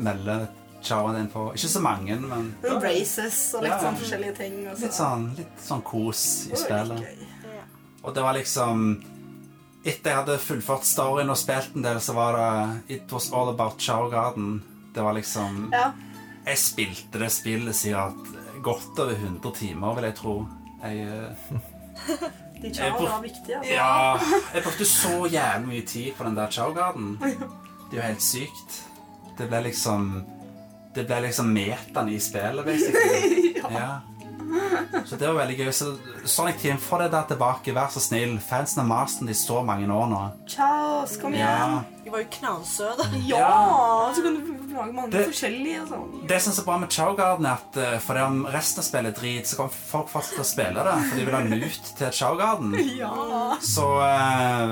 melde chowen din på. Ikke så mange, men det var
Races og litt
Ja.
sånn forskjellige ting. Og så.
litt sånn, litt sånn kos i
Det var litt
spillet.
gøy.
Og det var liksom Etter jeg hadde fullført storyen og spilt en del, så var det It was all about Chow Garden. Det var liksom
Ja.
Jeg spilte det spillet siden at godt over 100 timer, vil jeg tro. Jeg, eh,
De
Jeg
tjallene
bruk-
var viktige. Altså.
ja, jeg brukte så jævlig mye tid på den der Chowgarden. Det er jo helt sykt. Det ble liksom Det ble liksom metaen i spillet, basically. Ja. Så det var veldig gøy. Så Sonic Team, få det der tilbake, vær så snill. Fansen har mast om det i så mange år nå.
Chaos, kom igjen.
Ja.
De var jo knallsøte.
Ja. Så kan du lage mange
Det-
forskjellige og sånn.
Det som er så bra med Chowgarden, er at eh, fordi om resten av spillet er drit, så kommer folk fortsatt til å spille det, for de vil ha lut til Chowgarden.
Ja.
Så eh,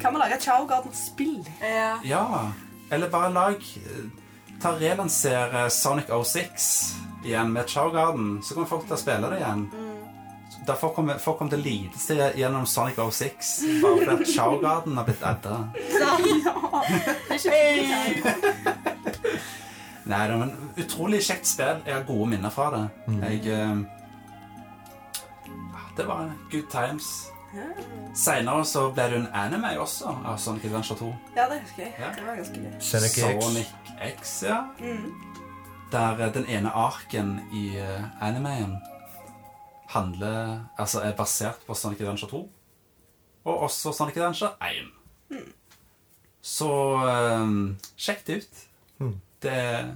Kan vi lage et Chowgarden-spill?
Ja.
Ja. Eller bare lag eh, Ta Relansere Sonic 06 igjen med Chowgarden, så kommer folk til å spille det igjen. Da folk kommer folk kommer til å lide seg gjennom Sonic 06 bare fordi at Chowgarden har blitt adda. Nei, det var en utrolig kjekt spill. Jeg har gode minner fra det. Jeg eh, ja, Det var good times. Seinere så ble det jo en anime også av Sonic Adventure 2.
Ja, det husker jeg.
Ja.
Det var ganske gøy.
Sonic X.
Sonic X, ja.
Mm.
Der eh, den ene arken i eh, animeen handler, altså er basert på Sonic Adventure 2, og også Sonic Adventure 1.
Mm.
Så eh, sjekk det ut. Det er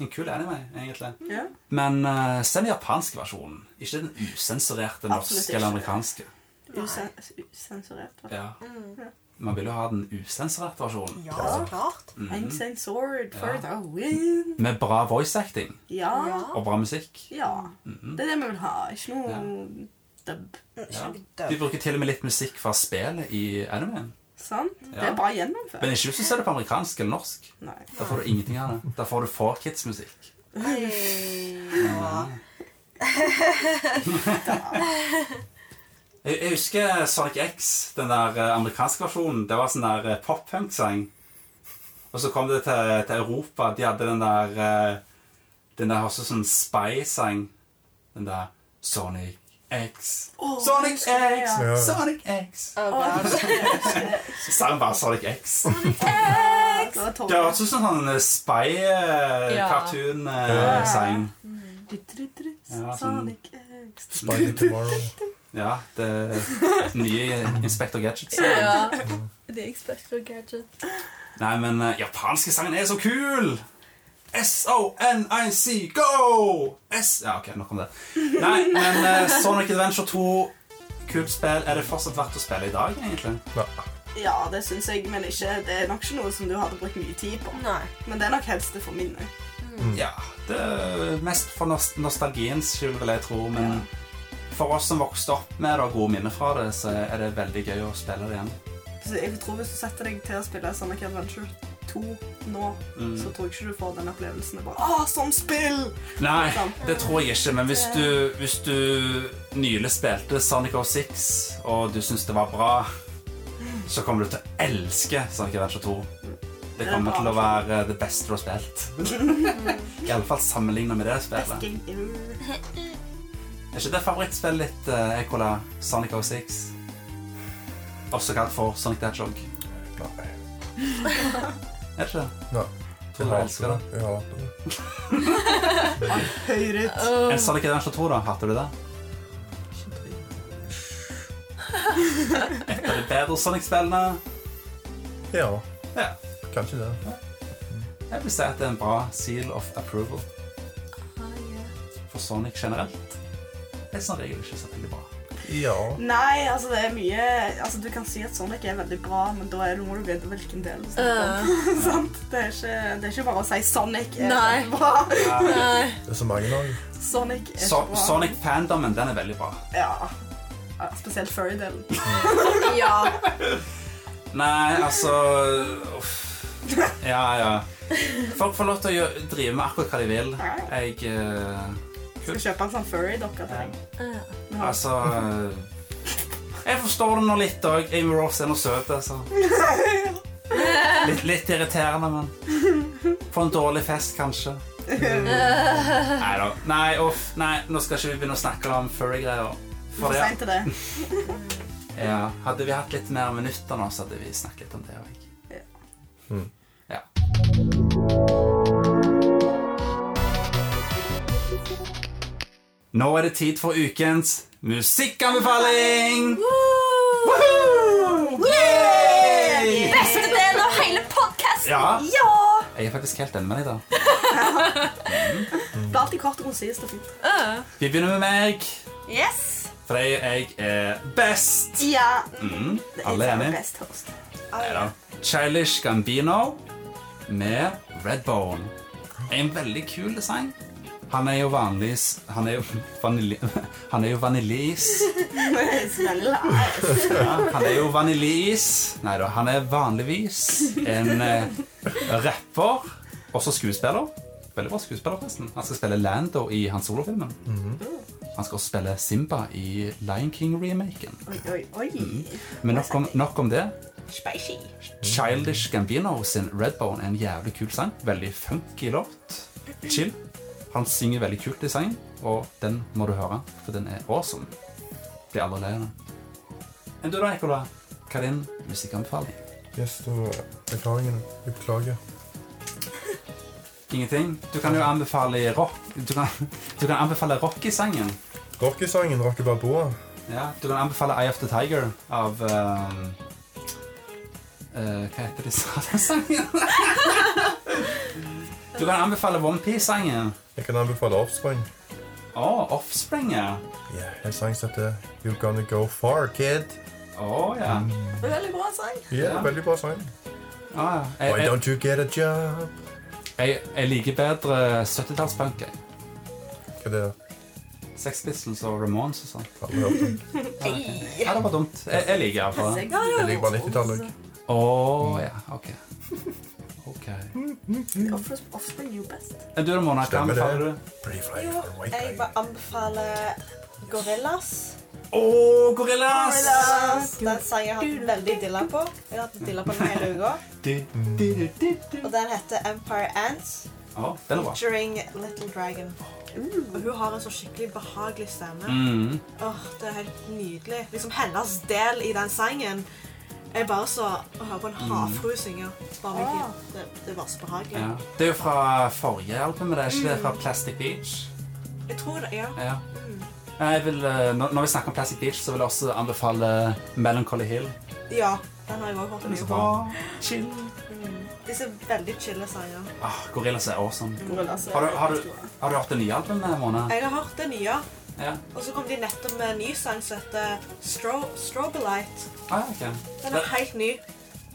en kul anime, egentlig.
Ja.
Men eh, se den japanske versjonen, ikke den usensurerte
Absolutt
norske eller
ikke.
amerikanske.
Usen usensurert. hva?
Ja. Man vil jo ha den usensurerte versjonen,
Ja, så klart.
Mhm.
Uncensored for the win.
med bra voice acting
Ja.
og bra musikk.
ja.
Mhm.
Det er det vi vil ha. Ikke noe dub.
Ja.
døv.
De bruker til og med litt musikk fra spillet i animeen.
Sant? Det
Ja.
er bare gjennomført.
Men ikke hvis du ser det på amerikansk eller norsk.
Nei.
Da får du ingenting av det. Da får du for kids-musikk. Jeg, jeg husker Sonic X, den der eh, amerikanske versjonen. Det var sånn der eh, pop-punk-sang. Og så kom det til, til Europa. De hadde den der eh, Den der også sånn spy-sang. Den der Sonic X. Sonic X!
Ja.
Sonic X!
Oh, God.
Sang bare Sonic X.
Ja, det var tolv.
Det høres ut som sånn eh,
Ja.
spy-cartoon-sang.
Du, du, du, du,
Ja, sånn.
Sonic X.
Spider Tomorrow.
Ja, det nye Inspector Gadgets.
Ja. Det er Inspector Gadget.
Nei, men eh, japanske sangen er så kul! S-O-N-I-C, go! S Ja, ok, nok om det. Nei, men eh, Sonic Adventure 2, kult spill. Er det fortsatt verdt å spille i dag, egentlig?
Ja, det syns jeg, men ikke, det er nok ikke noe som du hadde brukt mye tid på.
Nei.
Men det er nok helst det for minnet.
Ja, det er mest for nos nostalgiens skyld, vil jeg tro. Men for oss som vokste opp med det og har gode minner fra det, så er det veldig gøy å spille det igjen.
Så jeg tror Hvis du setter deg til å spille Sonic Adventure 2 nå,
Mm.
så tror jeg ikke du får den opplevelsen. Det er bare, Å, som spill!
Nei,
Sånn.
det tror jeg ikke. Men hvis du, hvis du nylig spilte Sonic 06, og du syns det var bra, så kommer du til å elske Sonic Adventure 2. Det
er
kommer
bra,
til å være det beste du har spilt. Iallfall sammenligna med det spillet.
Best game ever.
Er ikke det favorittspillet ditt, eh, Ekola? Sonic 06? Også kalt for Sonic the Hedgehog.
Nei.
Er det ikke det?
Nei.
Tror du du elsker det?
Jeg hater det.
Høyrett.
En Sonic Adventure 2, da? Hater du det? Et av de bedre Sonic-spillene.
Ja,
Ja.
kanskje det.
Jeg vil si at det er en bra seal of approval for Sonic generelt. Det er som regel ikke så veldig bra.
Ja.
Nei, altså det er mye Altså Du kan si at Sonic er veldig bra, men da er det, må du vite hvilken del. du snakker om. Sant? Det, er ikke, det er ikke bare å si Sonic er
Nei.
bra.
Nei.
Det er så mange lag.
Sonic er
So
ikke bra.
Sonic-fandomen den er veldig bra.
Ja. Ja, Spesielt furry-delen.
Ja.
Nei, altså uff. Ja, ja. Folk får lov til å gjøre, drive med akkurat hva de vil. Jeg eh,
Skal kjøpe en sånn furry-dokke til deg.
Altså eh, Jeg forstår det nå litt òg. Amy Rose er nå søt, altså. Litt, litt irriterende, men På en dårlig fest, kanskje. Nei da. Nei, uff. Nei, nå skal ikke vi begynne å snakke om furry-greier. For
For
det,
seint til det.
ja. Hadde vi hatt litt mer minutter nå, så hadde vi snakket litt om det òg.
Mm.
Ja. Nå er det tid for ukens musikkanbefaling! Woohoo! Yay!
Beste delen av hele podkasten!
Ja,
Ja!
jeg er faktisk helt enig med deg, da.
Det er alltid kort og konsist og fint.
Vi begynner med meg,
Yes!
fordi jeg er best.
Ja.
Mm,
Det er
alle er
sånn
enige?
best host.
Neida. Childish Gambino med Redbone. En veldig kul design. Han er jo vanligvis Han er jo vanilj... Han er jo vaniljeis. Ja, han er jo vaniljeis. Nei da, han er vanligvis en eh, rapper, også skuespiller. Veldig bra skuespiller, forresten. Han skal spille Lando i hans solofilmen. Han skal også spille Simba i Lion King-remaken.
Oi, oi, oi.
Men nok om, nok om det.
Spicy.
Childish Gambino sin Redbone er en jævlig kul sang. Veldig funky låt. Chill. Han synger veldig kult i sangen, og den må du høre, for den er awesome. Blir aldri lei av den. Enn du da, Ekola? Hva er din musikkanbefaling?
Yes, det var erfaringene. Jeg beklager.
Ingenting? Du kan jo anbefale rock Du kan, du kan anbefale rock i sangen.
Rockesangen Rocky Balboa.
Ja, du kan anbefale Eye of the Tiger av ehm, eh, Hva heter de sa- sangene? Du kan anbefale Onepiece-sangen.
Jeg kan anbefale Offspring.
Å, Offspring, ja.
Ja, en sang som heter You're Gonna Go Far, Kid.
Å, ja.
Veldig bra sang.
Ja,
Ja.
veldig bra sang.
Å, ja.
Why
Jeg, jeg,
don't you get a job?
jeg, jeg liker bedre 70-tallspunk. jeg.
Hva er det?
Sex Pistols og Ramones og sånn.
Aldri hørt om.
Ja, ok. ja, det var dumt. Jeg, jeg liker iallfall det.
Jeg liker bare 90-tallet. jeg.
Å, ja. OK. Ok.
Offspring er jo best.
Men Du da, Mona, hva
Stemmer det.
anbefaler du?
Pretty fly for a white
Jeg
guy.
bare anbefaler Gorillas.
Å, Gorillas!
Den sangen har jeg hatt veldig dilla på. Jeg har hatt dilla på den hele uka.
Du, du, du, du, du.
Og den heter Empire Ants
Å, den er bra.
featuring Little Dragon. Og hun har en så skikkelig behagelig stemme.
Mm.
Åh, Det er helt nydelig. Liksom Hennes del i den sangen er bare så Å høre på en havfrue synge. Bare mye fint. Det, det er bare så
Mm.
behagelig.
Ja. Det er jo
Mm.
fra forrige albumet, det er ikke det fra Plastic Beach?
Jeg tror det, ja.
Ja. Jeg vil, eh, når når vi snakker om Plastic Beach, så vil jeg også anbefale Melancholy Hill.
Ja, den har jeg også hørt
Den er
mye
så
på.
bra. Chill.
Mm. Disse veldig chille sangene.
Ah, Gorillaz er awesome.
Gorillaz er
Har du, har du,
helt store.
har du hørt det nye albumet, eh, Mona?
Jeg har hørt det nye,
Ja.
og så kom de nettopp med en ny sang som heter Stro Strobelight.
Ah, ok.
Den er
Det-
helt ny.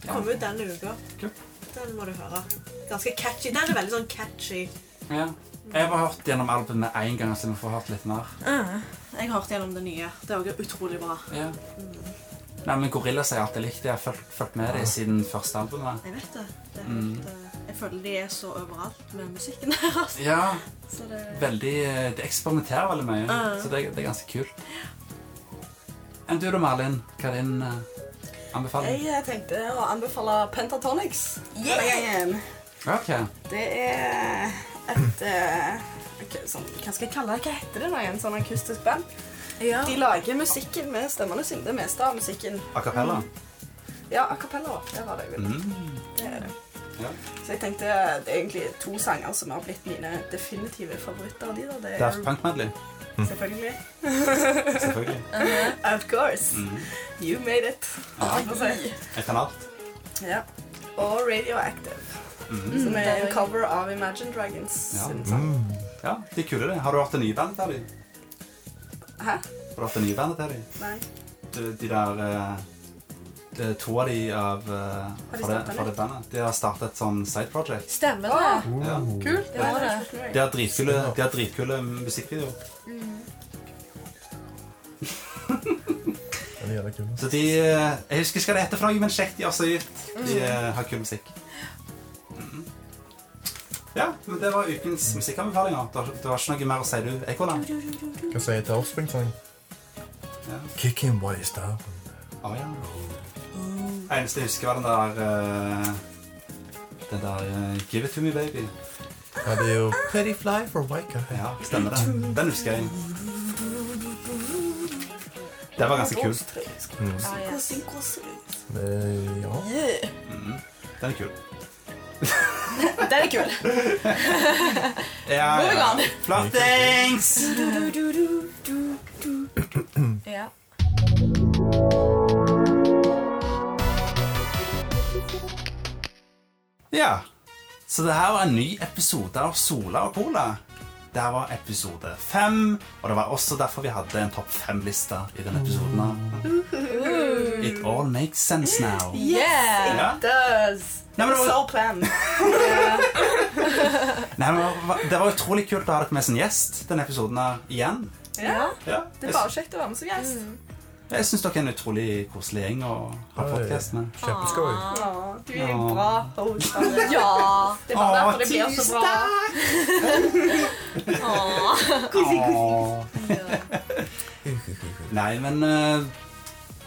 Den kom ut denne uka.
Kult.
Den må du høre. Ganske catchy. Den er veldig sånn catchy.
Ja. Jeg har bare hørt gjennom albumet én gang, så vi får hørt litt mer.
Jeg har hørt gjennom det nye. Det er også utrolig bra.
Ja. Nei, men Gorillaz har jeg alltid likt. Jeg har fulgt, fulgt med dem siden første albumet.
Jeg vet det. det er helt, eh, Jeg føler de er så overalt med musikken deres.
Ja,
Så det
veldig eh, De eksperimenterer veldig mye,
Ja.
så det, det er ganske kult. Enn du da, Malin? Hva er din eh, anbefaling?
Jeg eh, tenkte å anbefale Pentatonix. denne gangen.
Ja, ok.
Det er et eh, ok, sånn, Hva skal jeg kalle det? Hva heter det da igjen? Sånn akustisk band?
Ja.
De lager musikken med stemmene sine. Det meste av musikken.
A cappella?
Ja, a cappella. Det var det jeg ville.
Mm.
Det er det.
Ja.
Så jeg tenkte det er egentlig to sanger som har blitt mine definitive favoritter av de da. Det
Daft
er
Punk-medley,
selvfølgelig
selvfølgelig.
Of course.
Mm.
You made it. holdt på å si.
Jeg kan alt.
Ja. Og Radioactive,
Mm.
som er
Mm.
en cover av Imagine Dragons
Ja. Mm.
sin sang.
Ja, de er kule, de. Har du hørt det nye bandet til dem?
Hæ?
Har du hørt det nye bandet til dem?
Nei.
De, de der eh, de, To av de av eh,
de
fra,
startet
det, fra det bandet. De har startet et sånn side project.
Stemmer det.
Ja.
Det var det.
De har dritkule, de har dritkule musikkvideoer.
Den er jævla kul. altså.
Så de eh, Jeg husker ikke hva det heter for noe, men sjekk de også ut. De eh, har kul musikk. Mhm. Ja, men det var ukens musikkanbefalinger. Det var- Det var ikke noe mer å si, du, Ekola?
Hva sier jeg til Offspring sang?
Ja.
Kick him while he's down.
Oh, ja. Eneste jeg husker, var den der eh, Den der eh, Give it to me, baby.
Ja, det er jo Pretty fly for Waker.
Ja, stemmer det. Den husker jeg. Det var ganske kult.
Mm.
Ah, Ja, yes.
Eh, ja.
Mhm. Den er kul.
Den er kul.
Ja, ja. Flattings!
Ja.
Ja. Så det her var en ny episode av Sola og Cola. Det her var episode fem, og det var også derfor vi hadde en topp fem-liste i denne episoden. her. It all makes sense now.
Yeah!
Ja.
Does.
Nei, men det, var,
Soul Plan.
nei, men det var- det var utrolig kult å ha dere med som gjest denne episoden her igjen.
Ja.
Ja.
Det er
Jeg,
bare kjekt å være med som gjest.
jeg syns dere er en utrolig koselig gjeng å ha
Oi.
podkast med.
Kjempeskøy.
Å, du er en
Ja.
bra host. Anne.
Ja.
Det er bare
Å,
derfor det blir så bra.
Åh.
Åh. Nei, men eh,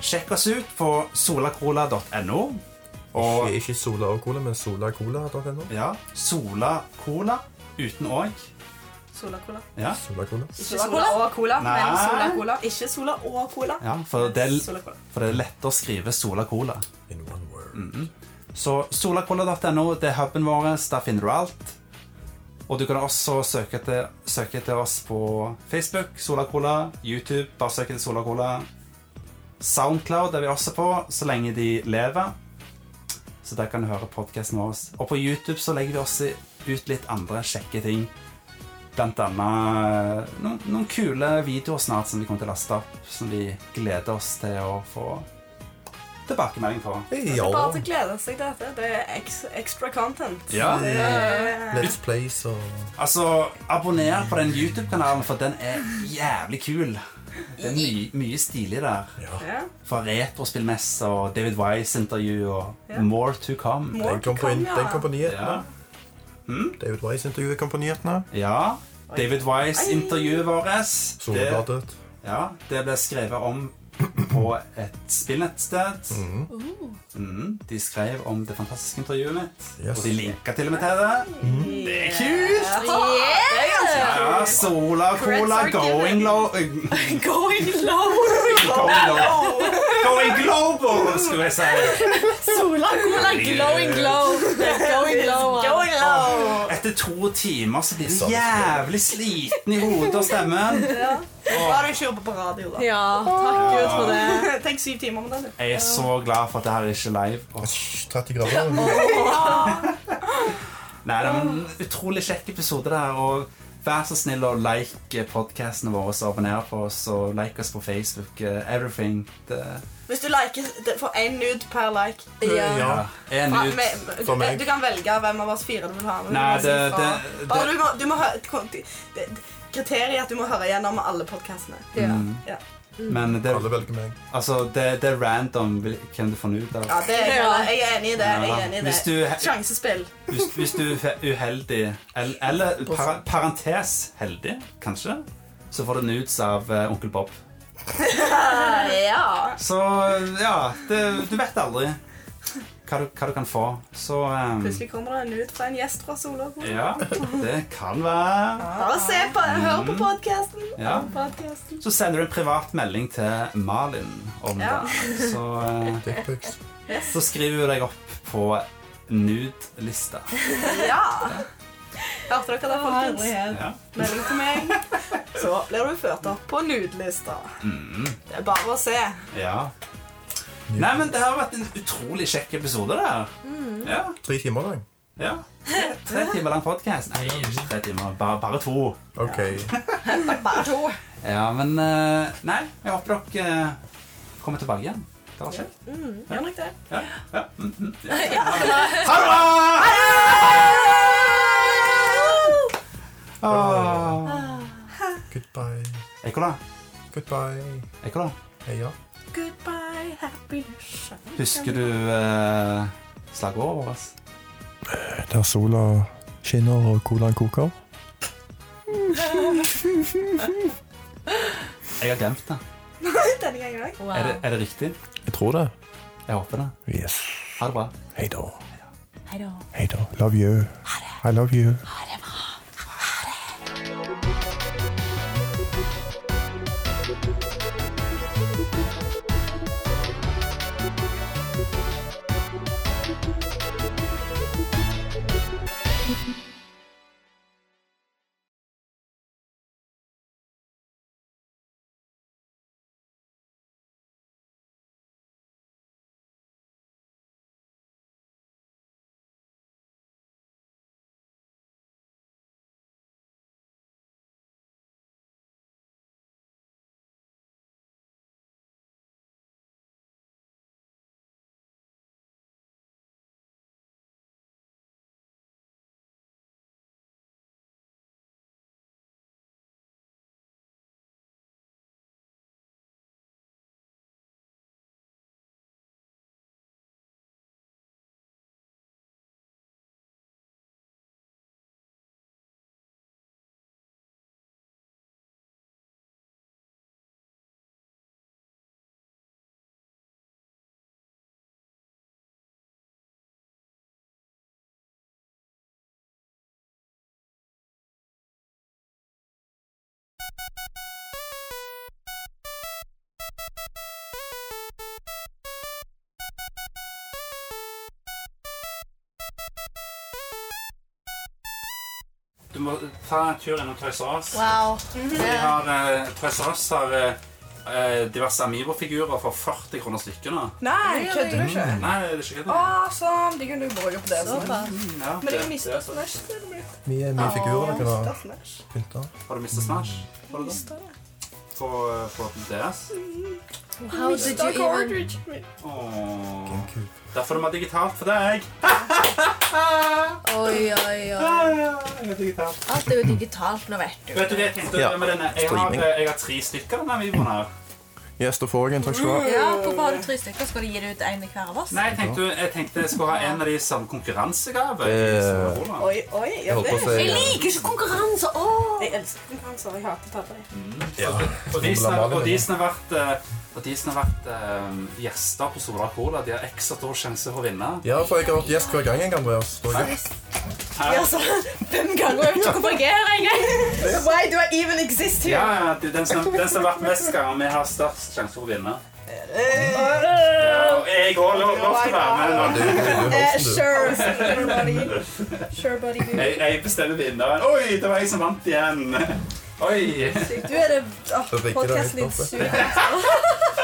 sjekk oss ut på solacola.no. Og
Ikke, ikke Sola og Cola, men Sola Cola.no.
Ja. Sola Cola uten òg.
Sola Cola.
Ja.
Sola Cola.
Ikke Sola og Cola, men
Nei.
Sola Cola. Ikke Sola og Cola.
ja for, det er,
Sola Cola.
for det er lett å skrive Sola Cola.
In one word.
Så solacola.no det er huben vår. Der finner du alt. Og du kan også søke etter, søke etter oss på Facebook, Sola Cola, YouTube. Bare søk etter Sola Cola. Soundcloud er vi også på, så lenge de lever. Så der kan du høre podkasten vår. Og på YouTube så legger vi også ut litt andre kjekke ting. Blant annet noen, noen kule videoer snart som vi kommer til å laste opp, som vi gleder oss til å få tilbakemelding på.
Hey,
Det
ja.
er bare til å glede seg til dette. Det er ex extra content.
Ja.
Det er-
Let's Place og
Altså, abonner på den YouTube-kanalen, for den er jævlig kul. Det er my mye stilig der.
Ja.
Fra retrospillmesse og David Wise-intervju og
Ja.
more to come.
More
Den kom på,
to come,
in,
ja.
den kom på nyhetene.
Ja. Hm?
David Wise intervjuet kom på nyhetene.
ja. David Wise-intervjuet vårt. Det,
Solbladet.
ja, det ble skrevet om på et spillnettsted.
Mm.
Mhm.
Mhm, de skrev om det fantastiske intervjuet mitt,
Yes.
og de linka til og med til det. Det er kult!
Det er ganske
Ja, Sola Cola
are
going
given.
low
Going low.
Going low. Going global, skulle jeg si.
Sola cola glowing glow. Det er Going low. Going
sånn. Etter to timer så blir jeg så jævlig sliten i hodet og stemmen.
La deg ikke jobbe på radio, da.
Ja, takk Gud for det.
Tenk syv timer med det. du.
Jeg er så glad for at det her er ikke live. Åh.
30 grader.
Nei, det er en utrolig kjekk episode det her, og vær så snill å like podcastene våre og abonnere på oss, og like oss på Facebook, eh, everything. Det,
Hvis du liker det- får én nude per like
Ja.
ja, en
Fra-
ut.
med-
for meg.
Du kan velge hvem av oss fire du vil ha med.
Nei,
Du kan si
det, det,
fra-
det,
Bare du må, du må hø- kon- det- det- Kriteriet er at du må høre gjennom alle podkastene.
Ja.
mm.
Ja.
Men det,
Alle velger meg.
altså, det, det er random hvil- hvem du får ut av.
Ja, det er,
Ja.
jeg er enig i det. Jeg er enig i
Hvis
det.
du, Mm.
Sjansespill.
hvis, hvis du er uheldig, eller, eller para, parentes heldig, kanskje, så får du nudes av eh, onkel Bob.
Ja.
Så ja, det, du vet aldri hva du, hva du kan få. Så eh,
Plutselig kommer det en nude fra en gjest fra Solå.
Ja, det kan være.
Bare se på, hør
Mm.
på podkasten.
Ja. Så sender du en privat melding til Malin om
Ja.
det. Så, eh,
Dickpics.
så skriver hun deg opp på nude-lista.
Ja. Hørte dere det, folkens?
Ja.
Melding til meg. Så blir du ført opp på nudelista.
Mm,
Det er bare å se.
ja. Nei, men det har vært en utrolig kjekk episode, det her. Ja,
Tre timer lang.
ja. Tre timer lang podkast. Nei, ikke tre timer. Bare, bare to.
OK.
Bare to.
Ja, men eh, Nei, jeg håper dere eh, kommer tilbake igjen. Det var kjekt.
Gjør nok det.
Ja. Ja. Mm, mm, ja. Ha det bra! Åh.
Goodbye.
Ekkola,
Goodbye.
Ekkola.
Heia.
Goodbye, happiness.
Husker du uh, slagordet vårt?
Der sola skinner og colaen koker.
Jeg har glemt det.
Denne gangen òg.
Er, det. er det riktig?
Jeg tror det.
Jeg håper det.
Yes.
Ha det bra.
Hei da. Hei da. Love you. I love you.
Du må ta en tur innom Toys R Us.
Wow.
De har, eh, Toys R Us har eh, diverse Amiibo-figurer for 40 kroner stykket nå.
Nei, kødder du
Mm.
ikke?
Nei, det er ikke det.
Å,
Ah,
sånn. De kunne jo bruke på det. Sånn.
Ja,
Men
det-
jeg mista
det er-
Smash. til og med.
Mye, mye figurer dere kan ha
Mistet Smash.
pynta.
Har du mistet Smash? Har du det?
Mistet det.
På, eh, på DS?
How did
Mistet
you even
cartridge min.
Åh.
Gamecube.
Derfor er det digitalt for deg.
Oi, oi, oi.
Ja, det er digitalt.
Alt er jo digitalt nå, vet du.
Vet du det jeg tenkte
Ja.
med denne? Jeg har, eh,
Streaming.
jeg har tre stykker av denne videoen her.
Yes, da får jeg en. Takk skal du ha.
Ja, Hvorfor har du tre stykker? Skal du gi det ut en i hver av oss?
Nei, jeg tenkte, jeg tenkte jeg skulle ha en av de som konkurransegave.
Eh.
Eh.
Oi, oi. Ja,
Jeg holdt på sånn. å
det.
si
Jeg liker ikke konkurranse! Åh!
Jeg elsker konkurranser. Jeg hater tapere.
eh, ja.
Og de som og de som har vært, eh, og de som har vært eh, gjester på Sola Cola, de har ekstra stor sjanse for å vinne.
ja, for jeg har vært gjest hver gang jeg, Andreas. Da er jeg-
Ja, så Fem ganger. Jeg vet ikke hvorfor jeg er her engang. Why do I even exist here?
Ja, ja, den som, den som har vært mest ganger, vi har størst sjanse for å vinne. Ja, og Jeg har lov lov til å være med. men-
Eh, sure, buddy. Sure, buddy.
Jeg, jeg bestemmer vinneren. Oi, det var jeg som vant igjen. Oi.
Du er det ah,
Da drikker det
Podkasten din
helt
suger.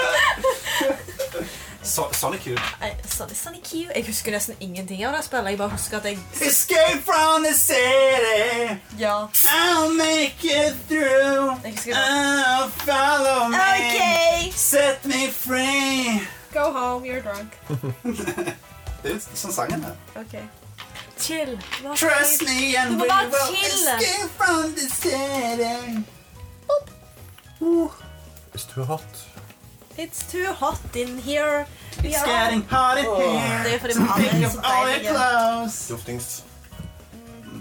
Så, sånn er kult.
Nei, Sunny Sunny Q. Jeg husker nesten ingenting av det spillet. Jeg bare husker at jeg
Escape from the city.
Ja.
I'll make it through.
Jeg husker det.
Oh, follow me.
OK!
Set me free.
Go home, you're drunk.
Det er jo sånn sangen er.
OK.
Chill. Hva
Trust me and
Du må
we
bare
will
chille.
escape from the city.
Hvis du har hatt
It's too hot in here.
It's getting hot in here.
Det er fordi vi
Pick
alle er
up
så
all your
deilige.
clothes.
duftings...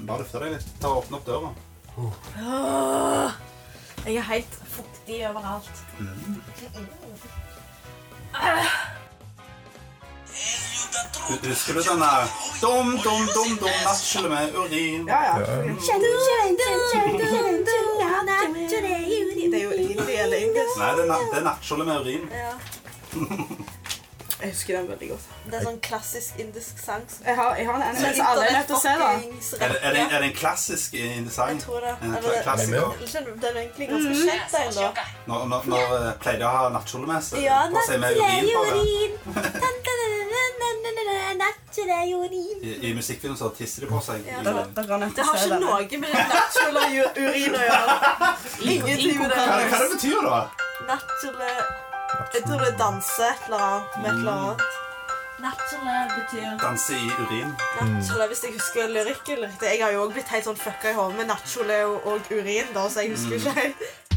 Bare løfte deg litt. Ta og Åpne opp døra.
Åh, Jeg er helt fuktig overalt.
Hu- Husker du den der Dum, dum, dum, dum, nattskille med urin?
Ja, ja. Det er jo indie eller indisk.
Nei, det er, na- det er nattskille med urin.
Jeg husker den veldig godt.
Det er sånn klassisk indisk sang. som-
Jeg har, jeg har en anime som alle er nødt til å se, da.
Fuckings
Er det, er det,
rett, ja.
er det en klassisk i i design?
Jeg tror det.
En
Eller
kla
det-
klassiker?
Skjønner du, Den er egentlig ganske kjent, den, da.
Når, når, når eh, pleier de å ha nattskjole med seg?
Ja,
Bare si med urin på det. I, I musikkfilmen så tisser de på seg. urin.
Dere er nødt
Det
til å
har
se
ikke
den.
noe med natural og u- urin å gjøre. Ingenting med
Hva, hva
det.
det betyr det?
Natural eh, Jeg tror det er danse et eller annet med et eller annet.
Natural betyr
Danse i urin.
Natural, hvis jeg husker lyrikken litt. Jeg har jo også blitt helt sånn fucka i hodet med natural og, og urin, da, så jeg husker ikke helt.